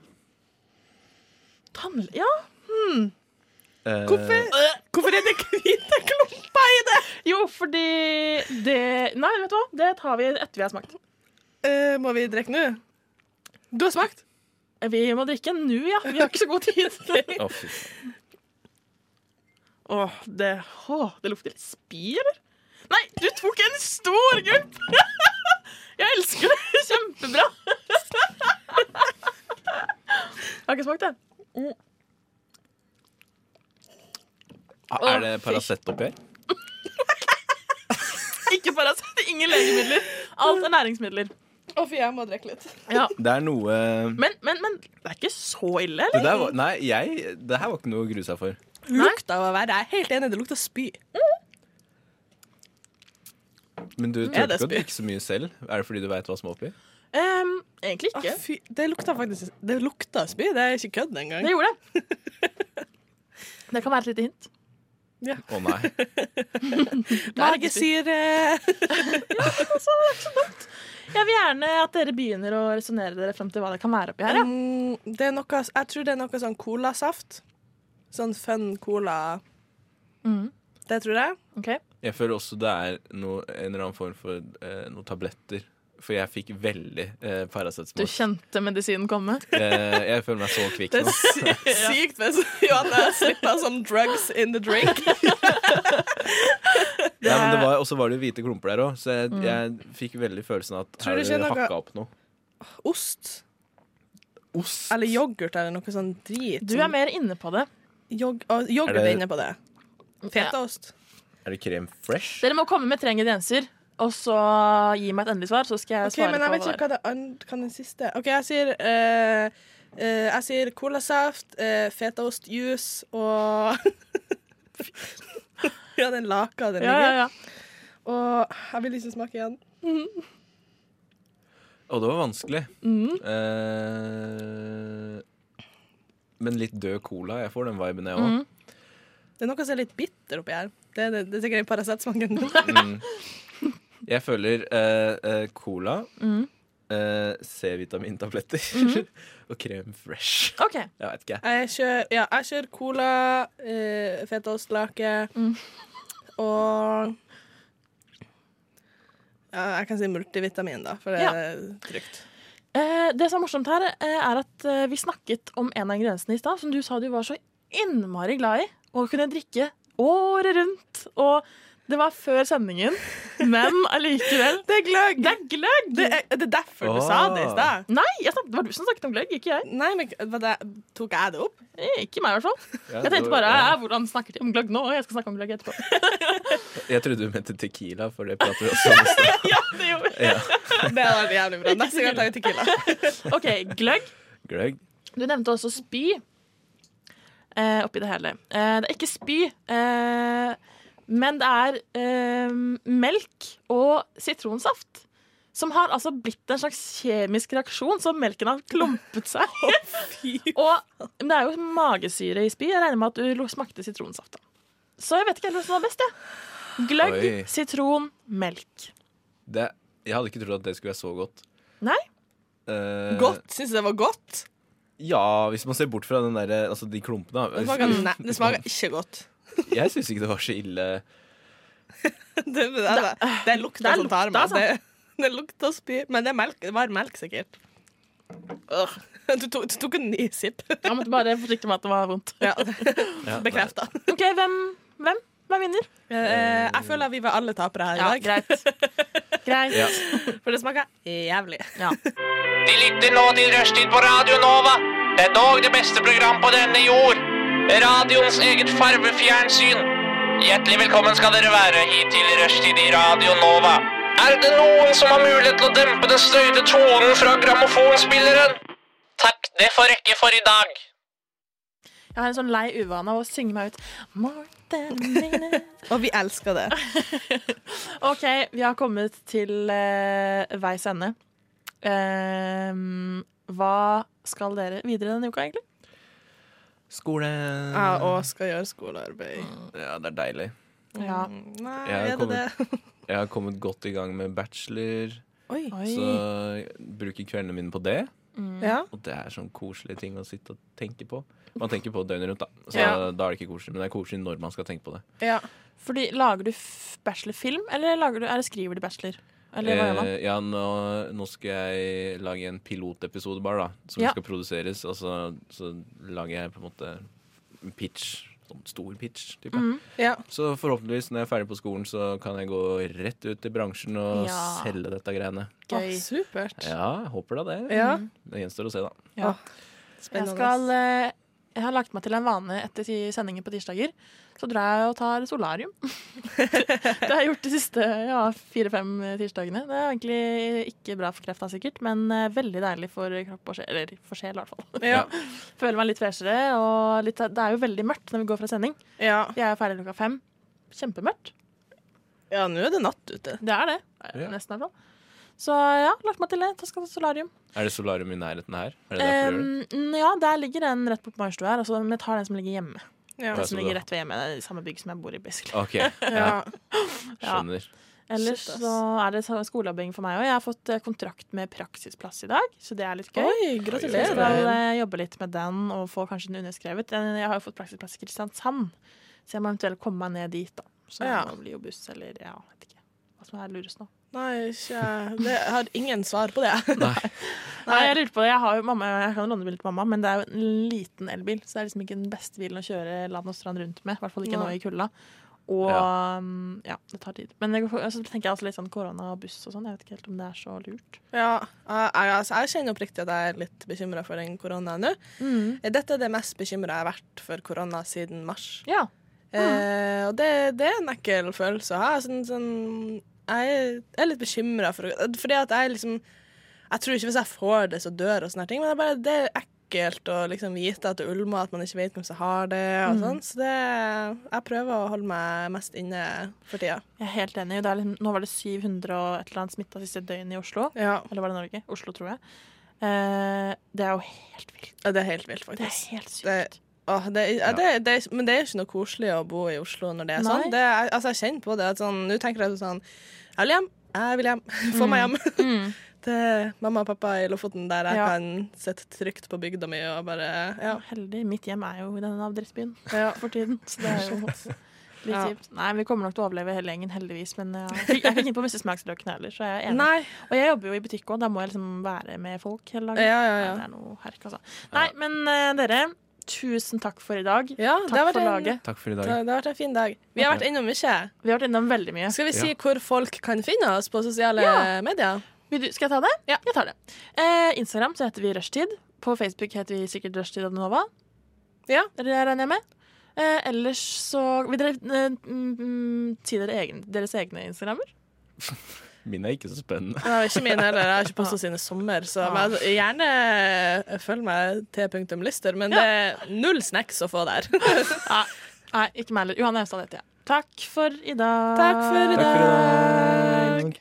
Tannle... Ja. Hmm.
Eh,
Hvorfor er det hvite klumper i det?
Jo, fordi det Nei, vet du hva? Det tar vi etter vi har smakt.
Eh, må vi drikke nå? Du har smakt.
Vi må drikke nå, ja. Vi har ikke så god tid.
Å, fy faen.
Åh, det, åh, det lukter litt spy, eller? Nei, du tok en stor gulp! Jeg elsker det! Kjempebra! Jeg har ikke smakt det.
Er det Paracet oppi her?
Ikke Paracet, ingen legemidler. Alt er næringsmidler.
Å, fy, jeg må drikke litt.
Det er noe
Men, men, men det er ikke så ille,
det
eller?
der var, Nei, jeg, det her var ikke noe å grue seg for.
Lukta var verre. Jeg er helt enig, det lukta spy.
Men du
Er det
tør ikke å
spy?
drikke så mye selv? Er det fordi du veit hva som er oppi?
Ehm, egentlig
Å,
ikke.
fy, det lukta faktisk Det lukta spy. Det er ikke kødd engang.
Det gjorde det. Det kan være et lite hint.
Å nei.
Magesyre.
Jeg vil gjerne at dere begynner å resonnere dere frem til hva det kan være oppi her. Ja.
Mm, det er noe, jeg tror det er noe sånn colasaft. Sånn fun cola. Mm.
Mhm.
Det tror jeg.
Ok.
Jeg føler også det er noe, en eller annen form for eh, noen tabletter. For jeg fikk veldig eh,
Du
Paracet-smak.
kjente medisinen komme.
Eh, jeg føler meg så kvikk
Det er
nå.
sy sykt hvis Johanne slipper som drugs in the drink.
Nei, men det var, og så var det jo hvite klumper der òg, så jeg, jeg fikk veldig følelsen av at
Tror
her
du
er
ikke
det
noe-
hakka opp noe.
Ost
Ost?
eller yoghurt eller noe sånn drit.
Du er mer inne på det.
Jog og yoghurt
Er
er,
det-
inne på det. Fetaost.
Er det krem fresh?
Dere må komme med tre ingredienser, og så gi meg et endelig svar. Så skal jeg
OK,
svare
men jeg
på
vet
hva
ikke hva det andre Kan den siste OK, jeg sier eh, eh, Jeg sier colasaft, uh, fetaostjuice og Ja, den laka
det er.
den
Ja, ja,
ligger.
ja.
Og jeg vil ikke smake igjen.
Å, det var vanskelig. Eh, men litt død cola. Jeg får den viben, jeg òg.
Mm.
Det er noe som er litt bitter oppi her. Det, er- det er sikkert den Paracet-smaken.
Jeg føler eh, eh, cola, eh, C-vitamintabletter og krem fresh.
OK.
Jeg vet ikke.
Jeg kjører, ja, jeg kjører cola, eh, fetaostlake og ja, Jeg kan si multivitamin, da, for det
Ja.
er trygt.
Eh, det som er morsomt her, eh, er at eh, vi snakket om en av ingrediensene i stad, som du sa du var så innmari glad i å kunne drikke året rundt. Og det var før sendingen, men allikevel
Det er gløgg!
Det er gløgg!
Det er, er det derfor du
Åh.
sa det i stad?
Nei, jeg snakket, det var du som snakket om gløgg, ikke jeg.
Nei, men var det, tok jeg det opp?
Eh, Ikke meg, i hvert fall.
Ja,
Jeg tenkte
det var-
bare
ja.
eh, hvordan snakker de om gløgg nå? Jeg skal snakke om gløgg etterpå.
Jeg trodde du mente tequila, for det prater vi også om. i sted.
Ja, det gjorde jeg.
Det hadde vært jævlig bra. Neste gang tar jeg tequila.
OK, gløgg.
Gløgg.
Du nevnte også spy eh, oppi det hele. Eh, det er ikke spy, eh, men det er eh, melk og sitronsaft. Som har altså blitt en slags kjemisk reaksjon, så melken har klumpet seg. og men det er jo magesyre i spy. Jeg regner med at du lo- smakte sitronsaft. da. Så jeg vet ikke helt hva som var best. jeg. Gløgg,
Oi.
sitron, melk.
Det, jeg hadde ikke trodd at det skulle være så godt.
Nei?
Eh,
Godt? Syns du det var godt?
Ja, hvis man ser bort fra den der, altså de klumpene. da.
Det smaker, nei, det smaker ikke godt.
Jeg syns ikke det var så ille.
Det, det, det, det er altså.
Det
lukta
er
som tar
lukta,
meg. Det, det lukta spy. Men det er melk, det var melk, sikkert. Ugh. Du, tok, du tok en ny sipp.
Jeg måtte bare forsikre meg at det var vondt.
Ja,
Ja,
Bekrefta.
OK, hvem, hvem? Hvem vinner?
Eh, jeg føler vi var alle tapere her i
Ja,
dag.
greit. Greit.
Ja.
For det smaker jævlig.
Ja.
De lytter nå til Rushtid på Radio Nova. Det er dog det beste program på denne jord. Radioens eget farvefjernsyn. Hjertelig velkommen skal dere være hit til Rushtid i Radio Nova.
Er det noen som har mulighet til å dempe den støyte tonen fra grammofonspilleren? Takk, det får rekke for i dag.
Jeg har en sånn lei uvane av å synge meg ut. More than a minute.
Og vi elsker det.
OK, vi har kommet til eh, veis ende. Ehm, hva skal dere videre denne uka, egentlig?
Skole
Jeg òg skal gjøre skolearbeid.
Ja, det er deilig.
Mm.
Ja.
Nei,
Jeg har
er det det?
kommet- Jeg har kommet godt i gang med bachelor,
Oi.
så jeg bruker kveldene mine på det.
Mm. Ja.
Og det er sånn koselige ting å sitte og tenke på. Man tenker på det døgnet rundt, da. Så
Ja.
da er det ikke koselig, men det er koselig når man skal tenke på det.
Fordi, lager du f- bachelorfilm, eller, lager du, eller skriver du bachelor? Eller hva gjør man?
Eh, ja, nå, nå skal jeg lage en pilotepisode bare, da. Som
Ja.
skal produseres. Og så, så lager jeg på en måte en pitch. Sånn stor pitch, type.
Mm.
Mhm. Ja.
Så forhåpentligvis, når jeg er ferdig på skolen, så kan jeg gå rett ut i bransjen og
Ja.
selge dette greiene.
Gøy. Å, supert.
Ja, Mm. jeg håper da det.
Ja.
Det gjenstår å se, da.
Ja. Jeg,
spennende.
skal, eh, jeg har lagt meg til en vane etter ti- sendinger på tirsdager. Så drar jeg og tar solarium. det har jeg gjort de siste ja, fire-fem tirsdagene. Det er egentlig ikke bra for krefta, sikkert, men eh, veldig deilig for kropp og sjel. Eller for sjel, i hvert fall.
Ja.
Føler meg litt freshere. Og litt, det er jo veldig mørkt når vi går fra sending. Vi er jo ferdig klokka fem. Kjempemørkt.
Ja, nå er det natt ute.
Det er det.
Ja.
Nesten, i hvert fall. Så ja, lagt meg til det. Da skal jeg ta solarium.
Er det solarium i nærheten her? Er det derfor du gjør det?
Um, ja, der ligger den rett borte på Majorstua her. Altså, men jeg tar den som ligger hjemme.
Ja.
Den som
Ja, så
ligger
da.
rett ved hjemme, det er i samme bygg som jeg bor i, basically.
Ok, ja.
Ja.
Skjønner.
Ellers
Shit, ass.
så er det så- skolearbeiding for meg òg. Jeg har fått eh, kontrakt med praksisplass i dag, så det er litt gøy.
Oi,
Så jeg
gratulerer.
skal eh, jobbe litt med den og få kanskje den underskrevet. Den- Jeg har jo fått praksisplass i Kristiansand, så jeg må eventuelt komme meg ned dit, da. Så
Ja.
det blir jo buss eller ja, jeg vet ikke hva som er lurest nå.
Nei, ikke det, Jeg har ingen svar på det.
Nei, jeg lurte på det. Jeg, har jo mamma, jeg kan låne bil til mamma, men det er jo en liten elbil. Så det er liksom ikke den beste bilen å kjøre land og strand rundt med. I hvert fall ikke nå
Nei.
i kulda. Og
Ja.
um, ja, det tar tid. Men jeg, så tenker jeg også litt sånn korona og buss og sånn. Jeg vet ikke helt om det er så lurt.
Ja, jeg, jeg- altså, jeg kjenner oppriktig at jeg er litt bekymra for den koronaen nå.
Mm.
Dette er det mest bekymra jeg har vært for korona siden mars. Eh, og det, det er en ekkel følelse å ha. Sånn, sånn, jeg er- jeg er litt bekymra for Fordi at jeg liksom Jeg tror ikke hvis jeg får det, så dør og sånne her ting, men det er, bare, det er ekkelt å liksom vite at det ulmer, at man ikke vet hvem som har det, og
Mm.
sånn. Så det Jeg prøver å holde meg mest inne for tida.
Jeg er helt enig. Det er liksom, nå var det 700 og et eller annet smitta siste døgnet i Oslo.
Ja.
Eller var det Norge? Oslo, tror jeg. Eh, det er jo helt vilt.
Ja, det er helt vilt, faktisk.
Det er helt sykt.
Det, åh, det, er- ja, det, det, er- men det er jo ikke noe koselig å bo i Oslo når det er
Nei.
sånn. Det, er- altså, jeg kjenner på det. At sånn, Nå tenker jeg sånn Jeg vil hjem. Jeg vil hjem. Få meg hjem. Til mamma og pappa i Lofoten, der jeg
Mm. Ja.
kan sitte trygt på bygda mi og bare Ja.
Heldig. Mitt hjem er jo i denne drittbyen
ja.
for tiden. Så det er jo litt
Ja.
kjipt. Nei, vi kommer nok til å overleve hele gjengen, heldigvis. Men ja, jeg fikk- jeg fikk ikke på mistesmaksløkene heller, så jeg er enig.
Nei.
Og jeg jobber jo i butikk òg, da må jeg liksom være med folk hele dagen.
Ja, ja, ja.
Nei, det er noe herk, altså. Nei, men eh, dere, tusen takk for i dag.
det
takk
har vært
for
en-
laget.
Takk for i
Det,
dag.
det har vært en fin dag. Vi har vært innom mye.
Vi har vært innom veldig mye.
Skal vi si hvor folk kan finne oss på sosiale
Ja.
medier?
Vil du, skal jeg ta det? Ja. Jeg tar det. Eh, Instagram så heter vi Rushtid. På Facebook heter vi sikkert Rushtid Adenova.
Ja.
Det regner jeg med. Eh, ellers så Vil dere eh, mm, mm, si dere egen, deres egne Instagrammer?
Min er ikke så spennende.
Nei, ikke min heller. Jeg har ikke posta sine sommer, så men altså, gjerne følg meg til punktum lyster, men det er null snacks å få der.
Nei, nei ikke meg heller. Johanne Austad heter jeg. Takk for i dag.
Takk for i Takk for i dag.